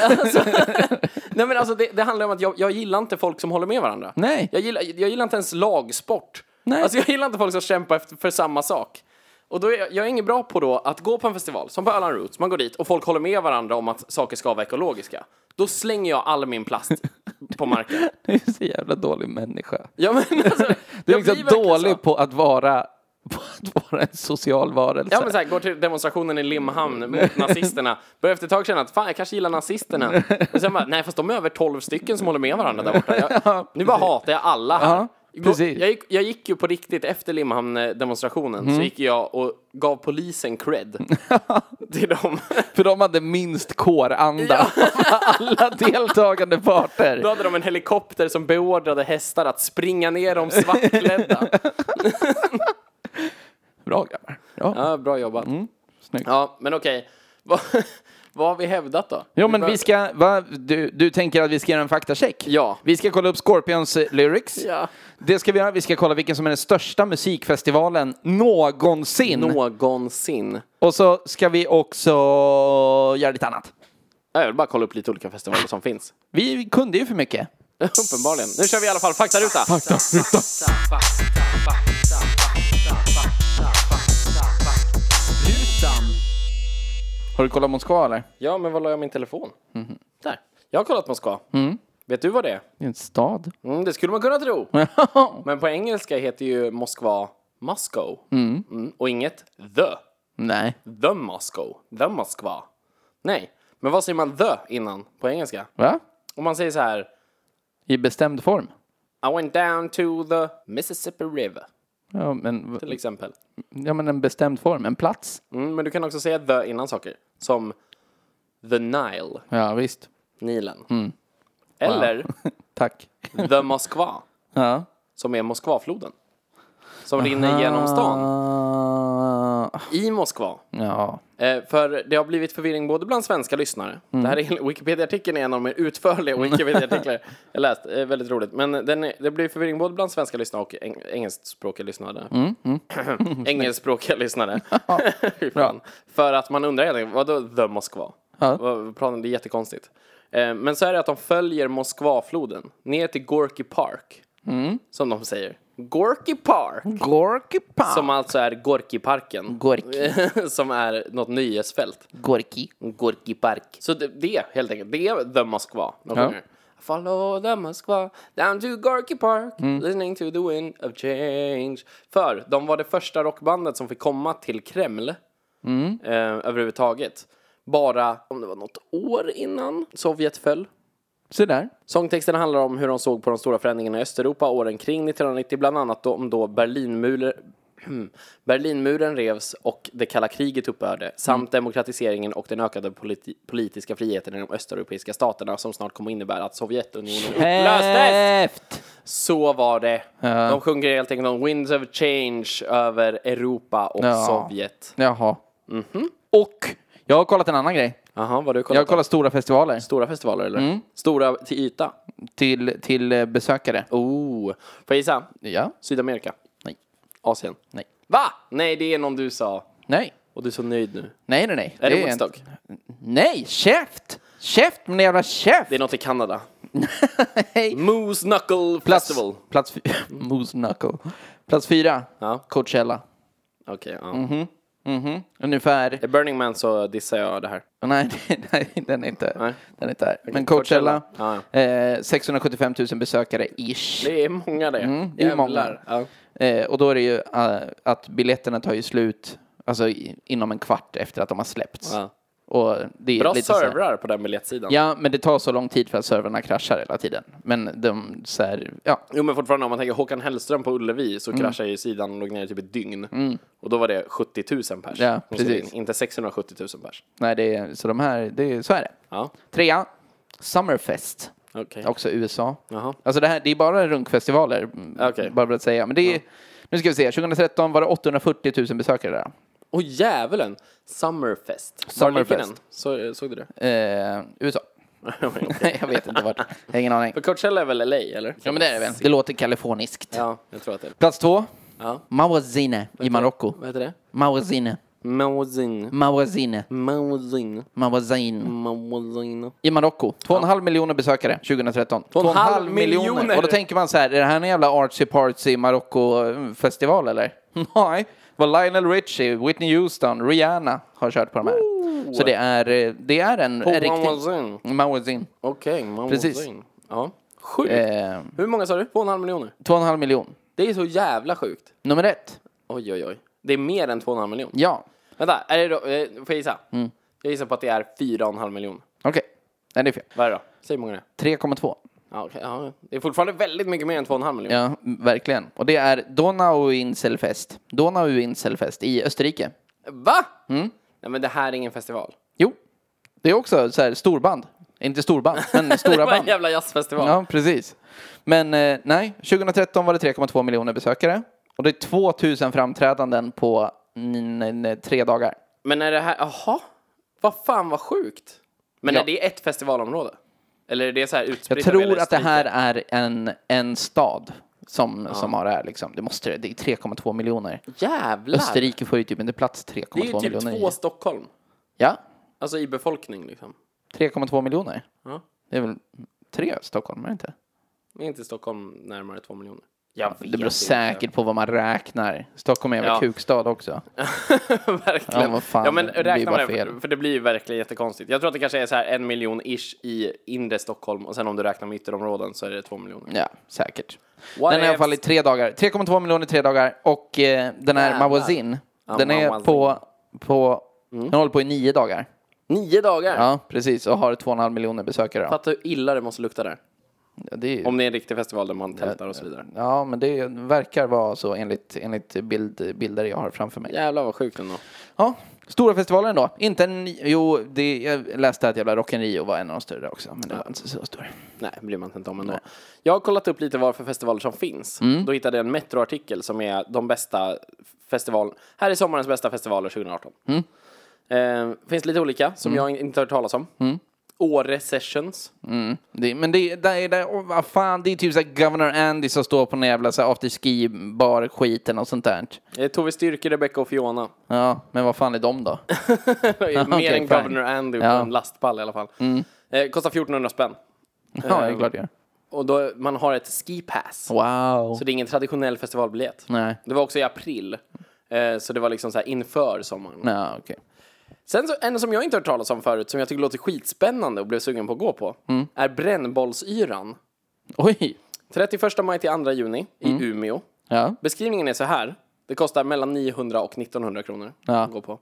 [SPEAKER 1] alltså, nej men alltså det, det handlar om att jag, jag gillar inte folk som håller med varandra.
[SPEAKER 2] Nej.
[SPEAKER 1] Jag gillar, jag gillar inte ens lagsport.
[SPEAKER 2] Nej.
[SPEAKER 1] Alltså jag gillar inte folk som kämpar efter, för samma sak. Och då är jag, jag är ingen bra på då att gå på en festival, som på Öland Roots, man går dit och folk håller med varandra om att saker ska vara ekologiska. Då slänger jag all min plast på marken.
[SPEAKER 2] Du är så jävla dålig människa.
[SPEAKER 1] Ja, men alltså,
[SPEAKER 2] Du är liksom
[SPEAKER 1] jag blir verkligen
[SPEAKER 2] dålig
[SPEAKER 1] så.
[SPEAKER 2] på att vara på att vara en social varelse.
[SPEAKER 1] Ja men såhär, går till demonstrationen i Limhamn
[SPEAKER 2] Mm.
[SPEAKER 1] mot nazisterna. Börjar efter ett tag känna att fan jag kanske gillar nazisterna. Och sen bara, nej fast de är över 12 stycken som håller med varandra där borta. Jag, nu bara hatar jag alla här.
[SPEAKER 2] Ja, precis.
[SPEAKER 1] Jag, gick, jag gick ju på riktigt efter Limhamn-demonstrationen
[SPEAKER 2] Mm.
[SPEAKER 1] så gick jag och gav polisen cred till dem.
[SPEAKER 2] För de hade minst kåranda av alla deltagande
[SPEAKER 1] Då
[SPEAKER 2] parter.
[SPEAKER 1] hade de en helikopter som beordrade hästar att springa ner de svartklädda.
[SPEAKER 2] Bra grabbar. Ja,
[SPEAKER 1] Ja, bra jobbat.
[SPEAKER 2] Mm, snyggt.
[SPEAKER 1] Ja, men okej. Vad, vad har vi hävdat då?
[SPEAKER 2] Jo men
[SPEAKER 1] bör-
[SPEAKER 2] vi ska, va? Du, du tänker att vi ska göra en faktacheck?
[SPEAKER 1] Ja.
[SPEAKER 2] Vi ska kolla upp Scorpions eh, lyrics.
[SPEAKER 1] Ja.
[SPEAKER 2] Det ska vi göra. Vi ska kolla vilken som är den största musikfestivalen någonsin.
[SPEAKER 1] Mm. Någonsin.
[SPEAKER 2] Och så ska vi också göra lite annat.
[SPEAKER 1] Jag vill bara kolla upp lite olika festivaler som finns.
[SPEAKER 2] Vi kunde ju för mycket.
[SPEAKER 1] Uppenbarligen. Nu kör vi i alla fall faktaruta.
[SPEAKER 2] Har du kollat Moskva eller?
[SPEAKER 1] Ja, men var la jag min telefon? Där. Jag har kollat Moskva. Vet du vad det är?
[SPEAKER 2] Det är en stad.
[SPEAKER 1] Mm, det skulle man kunna tro. men på engelska heter ju Moskva Moscow. Mm, och inget the.
[SPEAKER 2] Nej.
[SPEAKER 1] The Moscow. The Moskva. Nej. Men vad säger man the innan på engelska?
[SPEAKER 2] Va?
[SPEAKER 1] Om man säger så här.
[SPEAKER 2] I bestämd form.
[SPEAKER 1] I went down to the Mississippi River.
[SPEAKER 2] Ja men,
[SPEAKER 1] Till exempel.
[SPEAKER 2] ja, men en bestämd form. En plats.
[SPEAKER 1] Mm, men du kan också säga the innan saker. Som the Nile.
[SPEAKER 2] Ja, visst.
[SPEAKER 1] Nilen. Eller
[SPEAKER 2] Tack.
[SPEAKER 1] The Moskva,
[SPEAKER 2] Ja.
[SPEAKER 1] som är Moskvafloden. Som rinner genom stan
[SPEAKER 2] Ah,
[SPEAKER 1] i Moskva.
[SPEAKER 2] ja.
[SPEAKER 1] Eh, för det har blivit förvirring både bland svenska lyssnare. Det här är, Wikipedia-artikeln är en av de mer utförliga Wikipedia-artiklar jag läst. Eh, väldigt roligt. Men den är, det blir förvirring både bland svenska lyssnare och eng engelskspråkiga lyssnare. engelskspråkiga lyssnare. Fy fan. för att man undrar helt enkelt, vadå the Moskva?
[SPEAKER 2] Ja.
[SPEAKER 1] Vad- Planen, det är jättekonstigt. Eh, men så är det att de följer Moskvafloden ner till Gorky Park. Som de säger. Gorky Park!
[SPEAKER 2] Gorky Park.
[SPEAKER 1] Som alltså är Gorkiparken.
[SPEAKER 2] Gorky.
[SPEAKER 1] som är något nöjesfält.
[SPEAKER 2] Gorky.
[SPEAKER 1] Gorki Park. Så det, det helt enkelt, det är The Moskva. De
[SPEAKER 2] Ja.
[SPEAKER 1] sjunger. Follow the Moskva down to Gorky Park listening to the wind of change. För de var det första rockbandet som fick komma till Kreml eh, överhuvudtaget. Bara, om det var något år innan Sovjet föll.
[SPEAKER 2] Se där.
[SPEAKER 1] Sångtexten handlar om hur de såg på de stora förändringarna i Östeuropa åren kring 1990, bland annat då, om då Berlinmuren, Berlinmuren revs och det kalla kriget upphörde, samt demokratiseringen och den ökade politi- politiska friheten i de östeuropeiska staterna som snart kommer innebära att Sovjetunionen upplöstes.
[SPEAKER 2] Häft!
[SPEAKER 1] Så var det. De sjunger helt enkelt om Winds of Change över Europa och
[SPEAKER 2] Ja.
[SPEAKER 1] Sovjet.
[SPEAKER 2] Jaha.
[SPEAKER 1] Mhm.
[SPEAKER 2] Och jag har kollat en annan grej.
[SPEAKER 1] Jaha, vad har du
[SPEAKER 2] Jag har
[SPEAKER 1] kollat? Mm.
[SPEAKER 2] kollat stora festivaler
[SPEAKER 1] Stora festivaler eller? Stora till yta?
[SPEAKER 2] till, till eh, besökare.
[SPEAKER 1] Oh, får jag gissa?
[SPEAKER 2] Ja.
[SPEAKER 1] Sydamerika?
[SPEAKER 2] Nej.
[SPEAKER 1] Asien?
[SPEAKER 2] Nej.
[SPEAKER 1] Va? Nej, det är någon du sa.
[SPEAKER 2] Nej.
[SPEAKER 1] Och du är så nöjd nu.
[SPEAKER 2] Nej, nej, nej.
[SPEAKER 1] Är det,
[SPEAKER 2] en-
[SPEAKER 1] Woodstock?
[SPEAKER 2] Nej, käft! Käft, min jävla käft!
[SPEAKER 1] Det är något i Kanada.
[SPEAKER 2] Nej.
[SPEAKER 1] Moose Knuckle
[SPEAKER 2] Plats,
[SPEAKER 1] Festival.
[SPEAKER 2] plats, fy- Moose Knuckle. Plats fyra,
[SPEAKER 1] Ja.
[SPEAKER 2] Coachella.
[SPEAKER 1] Okej, ja.
[SPEAKER 2] Mhm. Ungefär,
[SPEAKER 1] I Burning Man så dissar jag det här.
[SPEAKER 2] nej, nej den är inte,
[SPEAKER 1] Nej.
[SPEAKER 2] den är inte här. Men
[SPEAKER 1] Coachella.
[SPEAKER 2] Coachella, eh, 675 000 besökare ish.
[SPEAKER 1] Det är många det. Mm,
[SPEAKER 2] det är många.
[SPEAKER 1] Ja.
[SPEAKER 2] Eh, och då är det ju eh, att biljetterna tar ju slut alltså, i, inom en kvart efter att de har släppts.
[SPEAKER 1] Ja.
[SPEAKER 2] Och det är
[SPEAKER 1] Bra
[SPEAKER 2] lite så här-
[SPEAKER 1] servrar på den biljettsidan.
[SPEAKER 2] Ja, men det tar så lång tid för att servrarna kraschar hela tiden. Men de så här, ja,
[SPEAKER 1] Jo men fortfarande om man tänker Håkan Hellström på Ullevi så
[SPEAKER 2] Mm.
[SPEAKER 1] kraschade ju sidan och låg ner i typ ett dygn. Och då var det 70 000 pers.
[SPEAKER 2] Ja,
[SPEAKER 1] som skrev
[SPEAKER 2] precis.
[SPEAKER 1] in. Inte 670 000 pers.
[SPEAKER 2] nej, det är, så de här, det är, så är det.
[SPEAKER 1] Ja,
[SPEAKER 2] Trea, Summerfest,
[SPEAKER 1] okej.
[SPEAKER 2] också USA.
[SPEAKER 1] Jaha.
[SPEAKER 2] Alltså det här, det är bara runkfestivaler, mm,
[SPEAKER 1] Okej.
[SPEAKER 2] bara för att säga. Men det är, nu ska vi se, 2013 var det 840 000 besökare där.
[SPEAKER 1] Åh djävulen! Summerfest.
[SPEAKER 2] Summerfest.
[SPEAKER 1] Var ligger den? Så, såg du det?
[SPEAKER 2] Eh, USA. Nej, jag vet inte vart. Jag har ingen aning.
[SPEAKER 1] För Coachella är väl LA eller?
[SPEAKER 2] Ja, men det är det väl. Det låter kaliforniskt.
[SPEAKER 1] Ja, jag tror att det är
[SPEAKER 2] Plats två,
[SPEAKER 1] Ja.
[SPEAKER 2] Mawazine i Marocko.
[SPEAKER 1] Vad heter det?
[SPEAKER 2] Mawazine,
[SPEAKER 1] Mawazin.
[SPEAKER 2] Mawazine,
[SPEAKER 1] Mawazin.
[SPEAKER 2] Mawazine.
[SPEAKER 1] Mawazin.
[SPEAKER 2] I Marocko. 2,5 miljoner besökare 2013.
[SPEAKER 1] och en
[SPEAKER 2] 2,5
[SPEAKER 1] halv miljoner.
[SPEAKER 2] Och då tänker man så här, är det här en jävla artsy partsy Marocko-festival eller? Nej, det var Lionel Richie, Whitney Houston, Rihanna har kört på de här. Så det är, eh, det är en, en riktig...
[SPEAKER 1] Mawazin.
[SPEAKER 2] Mawazin.
[SPEAKER 1] Okej, Mawazin.
[SPEAKER 2] Precis.
[SPEAKER 1] Ja. Sjukt.
[SPEAKER 2] Eh,
[SPEAKER 1] Hur många sa du? Två och en halv miljoner?
[SPEAKER 2] 2,5 miljon.
[SPEAKER 1] Det är så jävla sjukt.
[SPEAKER 2] Nummer ett.
[SPEAKER 1] Oj, oj, oj. Det är mer än två och en halv miljon.
[SPEAKER 2] Ja,
[SPEAKER 1] Vänta, är det då, eh, får jag gissa?
[SPEAKER 2] Mm.
[SPEAKER 1] Jag gissar på att det är fyra och en halv miljon.
[SPEAKER 2] okej. Nej, det är fel.
[SPEAKER 1] Vad är det då? Säg hur många det är.
[SPEAKER 2] 3,2.
[SPEAKER 1] Ja, okej, ja. Det är fortfarande väldigt mycket mer än två och en halv miljon.
[SPEAKER 2] Ja, verkligen. Och det är Donauinselfest. Donauinselfest i Österrike.
[SPEAKER 1] Va?
[SPEAKER 2] Mm.
[SPEAKER 1] Nej men det här är ingen festival.
[SPEAKER 2] Jo, det är också så här storband. Inte storband, men
[SPEAKER 1] det
[SPEAKER 2] stora
[SPEAKER 1] var en
[SPEAKER 2] band.
[SPEAKER 1] jävla jazzfestival.
[SPEAKER 2] Ja, precis. Men eh, nej, 2013 var det 3,2 miljoner besökare. Och det är 2000 framträdanden på n- n- tre dagar.
[SPEAKER 1] Men är det här, jaha? Vad fan vad sjukt. Men
[SPEAKER 2] Ja.
[SPEAKER 1] är det ett festivalområde? Eller är det så här utspritt?
[SPEAKER 2] Jag
[SPEAKER 1] över
[SPEAKER 2] tror
[SPEAKER 1] hela
[SPEAKER 2] att det
[SPEAKER 1] Österrike?
[SPEAKER 2] här är en, en stad som, som har det här. Liksom. Det, måste, det är 3,2 miljoner.
[SPEAKER 1] Jävlar!
[SPEAKER 2] Österrike får ju typ inte plats 3,2
[SPEAKER 1] Det är ju typ
[SPEAKER 2] miljoner. i.
[SPEAKER 1] två Stockholm.
[SPEAKER 2] Ja,
[SPEAKER 1] Alltså i befolkning liksom.
[SPEAKER 2] 3,2 miljoner.
[SPEAKER 1] Ja.
[SPEAKER 2] Det är väl tre Stockholm, är det inte?
[SPEAKER 1] Men inte Stockholm närmare två miljoner. Jag
[SPEAKER 2] Det beror säkert på vad man räknar. Stockholm är en
[SPEAKER 1] Ja.
[SPEAKER 2] ja. kukstad också.
[SPEAKER 1] verkligen.
[SPEAKER 2] Ja, vad fan,
[SPEAKER 1] ja men
[SPEAKER 2] det blir
[SPEAKER 1] räkna
[SPEAKER 2] bara
[SPEAKER 1] med det, för,
[SPEAKER 2] fel.
[SPEAKER 1] för det blir ju verkligen jättekonstigt. Jag tror att det kanske är så här en miljon ish i inre Stockholm och sen om du räknar med ytterområden så är det två miljoner.
[SPEAKER 2] Ja, säkert.
[SPEAKER 1] What
[SPEAKER 2] den är i alla
[SPEAKER 1] ifs?
[SPEAKER 2] fall i tre dagar. 3,2 miljoner i tre dagar. Och eh, den här
[SPEAKER 1] Jävlar.
[SPEAKER 2] Mawazin,
[SPEAKER 1] Ja,
[SPEAKER 2] den är
[SPEAKER 1] Mawazin.
[SPEAKER 2] på... på Den håller på i nio dagar.
[SPEAKER 1] Nio dagar!
[SPEAKER 2] Ja, precis. Och har 2,5 miljoner besökare. då.
[SPEAKER 1] Fattar hur illa det måste lukta där.
[SPEAKER 2] Ja, det är,
[SPEAKER 1] Om det är en riktig festival där man tältar och så vidare.
[SPEAKER 2] ja, men det verkar vara så enligt, enligt bild, bilder jag har framför mig.
[SPEAKER 1] Jävlar vad sjukt ändå.
[SPEAKER 2] Ja, stora festivaler då. Inte en... Jo, det, jag läste att jävla Rock in Rio var en av de större också. Men det var inte så stor.
[SPEAKER 1] Nej, bryr man sig inte om ändå. Jag har kollat upp lite vad för festivaler som finns.
[SPEAKER 2] Mm.
[SPEAKER 1] Då hittade jag en Metro-artikel som är de bästa festivalen. Här är sommarens bästa festivaler 2018.
[SPEAKER 2] Mm.
[SPEAKER 1] Eh, finns lite olika som jag inte har hört talas om.
[SPEAKER 2] Mm.
[SPEAKER 1] Åre Sessions.
[SPEAKER 2] Det, men det, där är det, oh, vad fan, det är typ såhär Governor Andy som står på en jävla så här afterski bar skiten och sånt där.
[SPEAKER 1] Eh, Tove Styrke, Rebecca och Fiona.
[SPEAKER 2] Ja, men vad fan är de då?
[SPEAKER 1] Mer
[SPEAKER 2] okej,
[SPEAKER 1] än
[SPEAKER 2] fine.
[SPEAKER 1] Governor Andy på
[SPEAKER 2] Ja. Mm.
[SPEAKER 1] en lastpall i alla fall. Eh, kostar 1400 spänn.
[SPEAKER 2] ja, det är klart det gör.
[SPEAKER 1] Och då, man har ett ski pass.
[SPEAKER 2] Wow.
[SPEAKER 1] Så det är ingen traditionell festivalbiljett.
[SPEAKER 2] Nej.
[SPEAKER 1] Det var också i april. Eh, Så det var liksom så här inför sommaren.
[SPEAKER 2] Ja, okej.
[SPEAKER 1] Sen så, en som jag inte hört talas om förut, som jag tycker låter skitspännande och blev sugen på att gå på,
[SPEAKER 2] Mm.
[SPEAKER 1] är Brännbollsyran.
[SPEAKER 2] Oj.
[SPEAKER 1] 31 maj till 2 juni
[SPEAKER 2] Mm.
[SPEAKER 1] i Umeå.
[SPEAKER 2] Ja.
[SPEAKER 1] Beskrivningen är så här. Det kostar mellan 900 och 1900 kronor
[SPEAKER 2] Ja.
[SPEAKER 1] att gå på.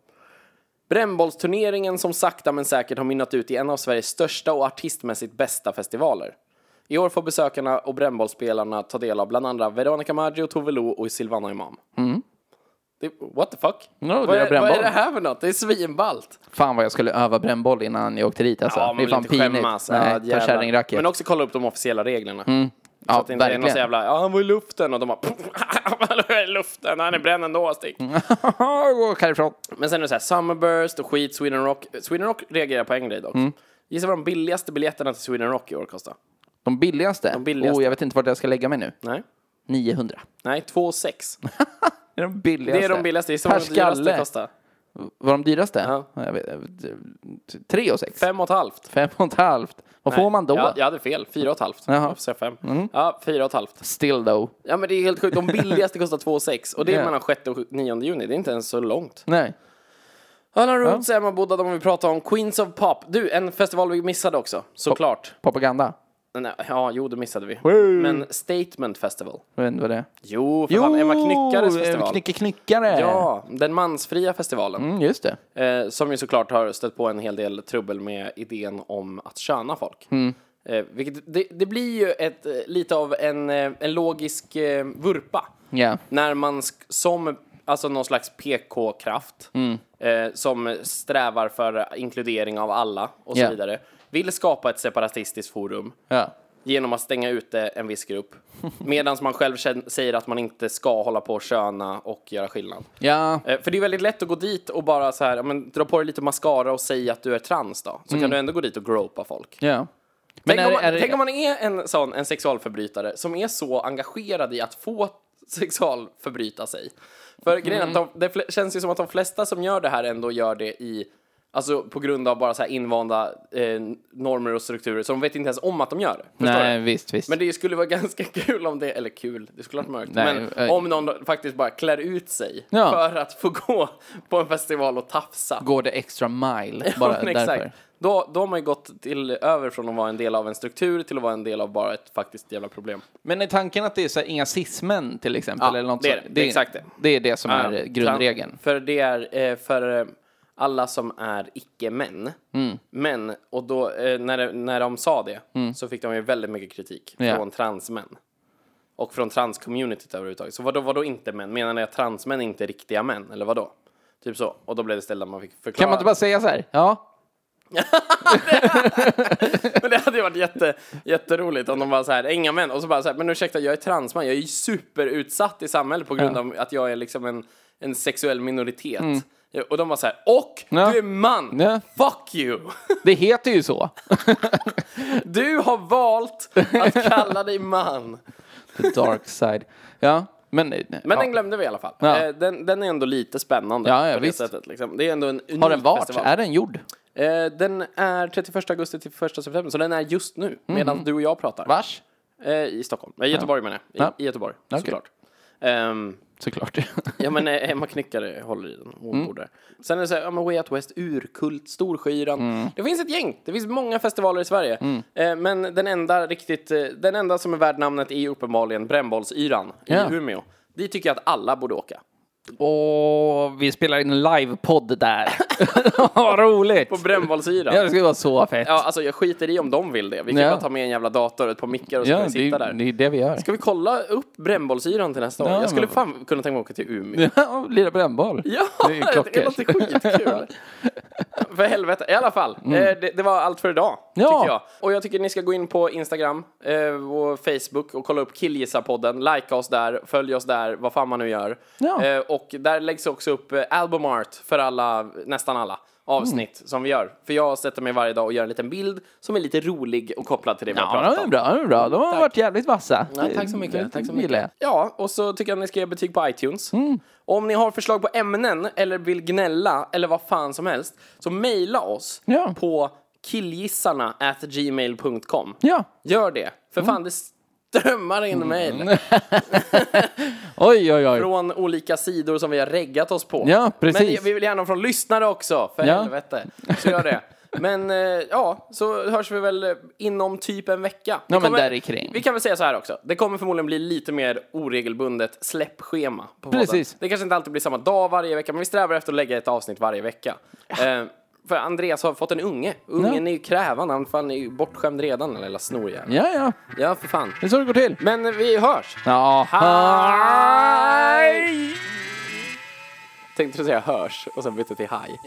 [SPEAKER 1] Brännbollsturneringen som sakta men säkert har mynnat ut i en av Sveriges största och artistmässigt bästa festivaler. I år får besökarna och brännbollsspelarna ta del av bland andra Veronica Maggio, Tove Lo och Silvana Imam. Det, what the fuck?
[SPEAKER 2] Mm. Ja, det
[SPEAKER 1] vad,
[SPEAKER 2] är
[SPEAKER 1] är, vad är
[SPEAKER 2] brännboll.
[SPEAKER 1] det här för något? Det är svinballt.
[SPEAKER 2] Fan vad jag skulle öva brännboll innan jag åkte dit alltså.
[SPEAKER 1] Ja,
[SPEAKER 2] det är
[SPEAKER 1] man
[SPEAKER 2] fan
[SPEAKER 1] vill inte skämmas.
[SPEAKER 2] pinigt. Nej, ta
[SPEAKER 1] jävlar.
[SPEAKER 2] kärringracket.
[SPEAKER 1] Men också kolla upp de officiella reglerna.
[SPEAKER 2] ja,
[SPEAKER 1] så att det inte är någon
[SPEAKER 2] Mm, verkligen.
[SPEAKER 1] så jävla, ja han var i luften och de bara, han var i luften, han är bränd ändå, stick.
[SPEAKER 2] Mm. Gå härifrån.
[SPEAKER 1] Men sen är det så här, Summerburst och skit, Sweden Rock. Sweden Rock reagerar på en grej dock.
[SPEAKER 2] Mm.
[SPEAKER 1] Gissa vad de billigaste biljetterna till Sweden Rock i år kostar?
[SPEAKER 2] De billigaste? De
[SPEAKER 1] billigaste.
[SPEAKER 2] Oh, jag vet inte vart jag ska lägga mig nu.
[SPEAKER 1] Nej,
[SPEAKER 2] 900.
[SPEAKER 1] nej, 2 6.
[SPEAKER 2] Det är de billigaste.
[SPEAKER 1] Det är de billigaste, gissa
[SPEAKER 2] Per
[SPEAKER 1] vad de dyraste
[SPEAKER 2] skalle.
[SPEAKER 1] kostar?
[SPEAKER 2] Var de dyraste?
[SPEAKER 1] Ja.
[SPEAKER 2] Jag vet, tre och sex.
[SPEAKER 1] Fem och ett halvt.
[SPEAKER 2] Fem och ett halvt. Vad får man då?
[SPEAKER 1] Jag, jag hade fel, fyra och ett halvt.
[SPEAKER 2] Jaha. Mm.
[SPEAKER 1] Varför säger jag fem? Ja, fyra och ett halvt.
[SPEAKER 2] Still though.
[SPEAKER 1] Ja men det är helt sjukt, de billigaste kostar 2 6 och det är
[SPEAKER 2] Ja.
[SPEAKER 1] mellan 6 och 9 juni, det är inte ens så långt.
[SPEAKER 2] Nej.
[SPEAKER 1] Alan Roots, Emma Bodda, de vi pratar om. Queens of Pop. Du, en festival vi missade också, såklart.
[SPEAKER 2] Propaganda.
[SPEAKER 1] Nej, ja, jo, det missade vi.
[SPEAKER 3] Wow.
[SPEAKER 1] Men Statement Festival.
[SPEAKER 2] Jag vet inte vad det är.
[SPEAKER 1] Jo, för fan, Emma Knyckares
[SPEAKER 2] eh,
[SPEAKER 1] festival.
[SPEAKER 2] Knycke Knyckare!
[SPEAKER 1] Ja, den mansfria festivalen.
[SPEAKER 2] Mm, just det.
[SPEAKER 1] Eh, som ju såklart har stött på en hel del trubbel med idén om att köna folk. Eh, vilket, det, det blir ju ett, eh, lite av en, eh, en logisk eh, vurpa.
[SPEAKER 2] Ja.
[SPEAKER 1] När man sk- som alltså någon slags PK-kraft
[SPEAKER 2] Mm.
[SPEAKER 1] eh, som strävar för inkludering av alla och så
[SPEAKER 2] Ja.
[SPEAKER 1] vidare vill skapa ett separatistiskt forum
[SPEAKER 2] Ja.
[SPEAKER 1] genom att stänga ute en viss grupp medan man själv kän- säger att man inte ska hålla på och köna och göra skillnad.
[SPEAKER 2] Ja.
[SPEAKER 1] Eh, För det är väldigt lätt att gå dit och bara så här, ja, men, dra på dig lite mascara och säga att du är trans då.
[SPEAKER 2] Mm.
[SPEAKER 1] Så kan du ändå gå dit och gropa folk.
[SPEAKER 2] ja. Men
[SPEAKER 1] Tänk,
[SPEAKER 2] är,
[SPEAKER 1] om
[SPEAKER 2] det-
[SPEAKER 1] man,
[SPEAKER 2] är, det-
[SPEAKER 1] tänk om man är en sån, en sexualförbrytare som är så engagerad i att få sexualförbryta sig. För grejen är
[SPEAKER 2] Mm.
[SPEAKER 1] att de, det fl- känns ju som att de flesta som gör det här ändå gör det i, alltså på grund av bara så här invanda eh, normer och strukturer, så de vet inte ens om att de gör det. Förstår
[SPEAKER 2] Nej,
[SPEAKER 1] du?
[SPEAKER 2] visst, visst.
[SPEAKER 1] Men det skulle vara ganska kul om det, eller kul, det är såklart mörkt,
[SPEAKER 2] Nej,
[SPEAKER 1] men
[SPEAKER 2] eh.
[SPEAKER 1] om någon då faktiskt bara klär ut sig
[SPEAKER 2] Ja.
[SPEAKER 1] för att få gå på en festival och tafsa.
[SPEAKER 2] Går det extra mile
[SPEAKER 1] Ja,
[SPEAKER 2] bara
[SPEAKER 1] men
[SPEAKER 2] därför?
[SPEAKER 1] Då, då har man ju gått till, över från att vara en del av en struktur till att vara en del av bara ett faktiskt jävla problem.
[SPEAKER 2] Men är tanken att det är så här, inga cis-män till exempel?
[SPEAKER 1] Ja,
[SPEAKER 2] eller något
[SPEAKER 1] det är
[SPEAKER 2] så-
[SPEAKER 1] det. Det är exakt det.
[SPEAKER 2] Det är det som är
[SPEAKER 1] Ja.
[SPEAKER 2] eh, grundregeln.
[SPEAKER 1] Äh, För det är eh, för eh, alla som är icke-män.
[SPEAKER 2] Mm.
[SPEAKER 1] Men, och då, eh, när, det- när de sa det så fick de ju väldigt mycket kritik
[SPEAKER 2] Ja.
[SPEAKER 1] från transmän. Och från transcommunityt överhuvudtaget. Så vadå, vadå inte män? Menar ni att transmän inte är riktiga män? Eller vadå? Typ så. Och då blev det ställt att man fick förklara.
[SPEAKER 2] Kan man inte bara säga så här? Ja.
[SPEAKER 1] Men det hade ju varit jätte, jätteroligt om de var så här, inga män, och så bara så här, men ursäkta, jag är transman, jag är ju superutsatt i samhället på grund av att jag är liksom en, en sexuell minoritet. Ja, Och de var så här, och
[SPEAKER 2] Mm. Ja.
[SPEAKER 1] du är man!
[SPEAKER 2] Ja.
[SPEAKER 1] Fuck you!
[SPEAKER 2] Det heter ju så.
[SPEAKER 1] Du har valt att kalla dig man!
[SPEAKER 2] The dark side. Ja, men... eh,
[SPEAKER 1] Men
[SPEAKER 2] ja.
[SPEAKER 1] den glömde vi i alla fall.
[SPEAKER 2] Ja.
[SPEAKER 1] Eh, Den, den är ändå lite spännande
[SPEAKER 2] Ja, ja,
[SPEAKER 1] på det
[SPEAKER 2] visst.
[SPEAKER 1] sättet. Liksom. Det är ändå en unik
[SPEAKER 2] Har den varit?
[SPEAKER 1] festival.
[SPEAKER 2] Är den gjord?
[SPEAKER 1] Eh, Den är 31 augusti till 1 september, så den är just nu,
[SPEAKER 2] Mhm.
[SPEAKER 1] medan du och jag pratar.
[SPEAKER 2] Vars?
[SPEAKER 1] Eh, I Stockholm. Eh, Göteborg menar jag. I,
[SPEAKER 2] Ja.
[SPEAKER 1] i Göteborg,
[SPEAKER 2] Okej.
[SPEAKER 1] såklart. Ehm,
[SPEAKER 2] Såklart.
[SPEAKER 1] ja men eh, Emma Knyckare håller i den. Hon
[SPEAKER 2] Mm.
[SPEAKER 1] bor där. Sen är det så här, ja men Way Out West, Urkult, Storskyran.
[SPEAKER 2] Mm.
[SPEAKER 1] Det finns ett gäng. Det finns många festivaler i Sverige. Eh, men den enda riktigt, eh, den enda som är värd namnet är ju uppenbarligen Brännbollsyran
[SPEAKER 2] Ja.
[SPEAKER 1] i Umeå. Dit tycker jag att alla borde åka.
[SPEAKER 2] Och vi spelar in en livepodd där. Vad roligt!
[SPEAKER 1] På Brännbollsyran.
[SPEAKER 2] Ja, det skulle vara så fett.
[SPEAKER 1] Ja, alltså jag skiter i om de vill det. Vi kan
[SPEAKER 2] Ja.
[SPEAKER 1] bara ta med en jävla dator och ett par mickar och så
[SPEAKER 2] Ja,
[SPEAKER 1] kan vi
[SPEAKER 2] det,
[SPEAKER 1] sitta
[SPEAKER 2] är-
[SPEAKER 1] där.
[SPEAKER 2] det är det vi gör.
[SPEAKER 1] Ska vi kolla upp Brännbollsyran till nästa år?
[SPEAKER 2] Ja,
[SPEAKER 1] Jag skulle
[SPEAKER 2] men-
[SPEAKER 1] fan kunna tänka mig att åka till Umeå.
[SPEAKER 2] Ja, lira brännboll.
[SPEAKER 1] Ja,
[SPEAKER 2] Det är
[SPEAKER 1] det,
[SPEAKER 2] klockor.
[SPEAKER 1] låter skitkul. för helvete. I alla fall, eh, det, det var allt för idag,
[SPEAKER 2] Ja.
[SPEAKER 1] tycker jag. Och jag tycker ni ska gå in på Instagram eh, och Facebook och kolla upp Killgissarpodden. Likea oss där, följ oss där, vad fan man nu gör.
[SPEAKER 2] Ja.
[SPEAKER 1] Eh, och där läggs också upp eh, album art för alla, nästan alla avsnitt som vi gör. För jag sätter mig varje dag och gör en liten bild som är lite rolig och kopplad till det vi har
[SPEAKER 2] Ja,
[SPEAKER 1] pratat
[SPEAKER 2] de är
[SPEAKER 1] om.
[SPEAKER 2] bra, de är bra. De har varit jävligt vassa.
[SPEAKER 1] Ja, tack så mycket. Tack så mycket. Mm.
[SPEAKER 2] Gillar jag.
[SPEAKER 1] Ja, och så tycker jag att ni ska ge betyg på iTunes. Om ni har förslag på ämnen eller vill gnälla eller vad fan som helst så mejla oss
[SPEAKER 2] Ja.
[SPEAKER 1] på killgissarna at gmail.com.
[SPEAKER 2] Ja.
[SPEAKER 1] Gör det, för fan det strömmar in mejl
[SPEAKER 2] Oj, oj, oj.
[SPEAKER 1] från olika sidor som vi har reggat oss på.
[SPEAKER 2] Ja, precis.
[SPEAKER 1] Men det- vi vill gärna ha från lyssnare också, för
[SPEAKER 2] Ja.
[SPEAKER 1] helvete. Så gör det. Men eh, ja, så hörs vi väl eh, inom typ en vecka. Det
[SPEAKER 2] Ja, men där i kring.
[SPEAKER 1] Vi kan väl säga så här också. Det kommer förmodligen bli lite mer oregelbundet släppschema på podden.
[SPEAKER 2] Precis.
[SPEAKER 1] Det kanske inte alltid blir samma dag varje vecka, men vi strävar efter att lägga ett avsnitt varje vecka. Eh, för Andreas har fått en unge. Ungen är ju krävande, han fan är ju bortskämd redan, den lilla snorjäveln.
[SPEAKER 2] Ja, ja.
[SPEAKER 1] Ja, för fan.
[SPEAKER 2] Det är så det går till.
[SPEAKER 1] Men vi hörs!
[SPEAKER 2] Ja.
[SPEAKER 1] Hej! Tänkte du säga hörs och sen bytte till haj.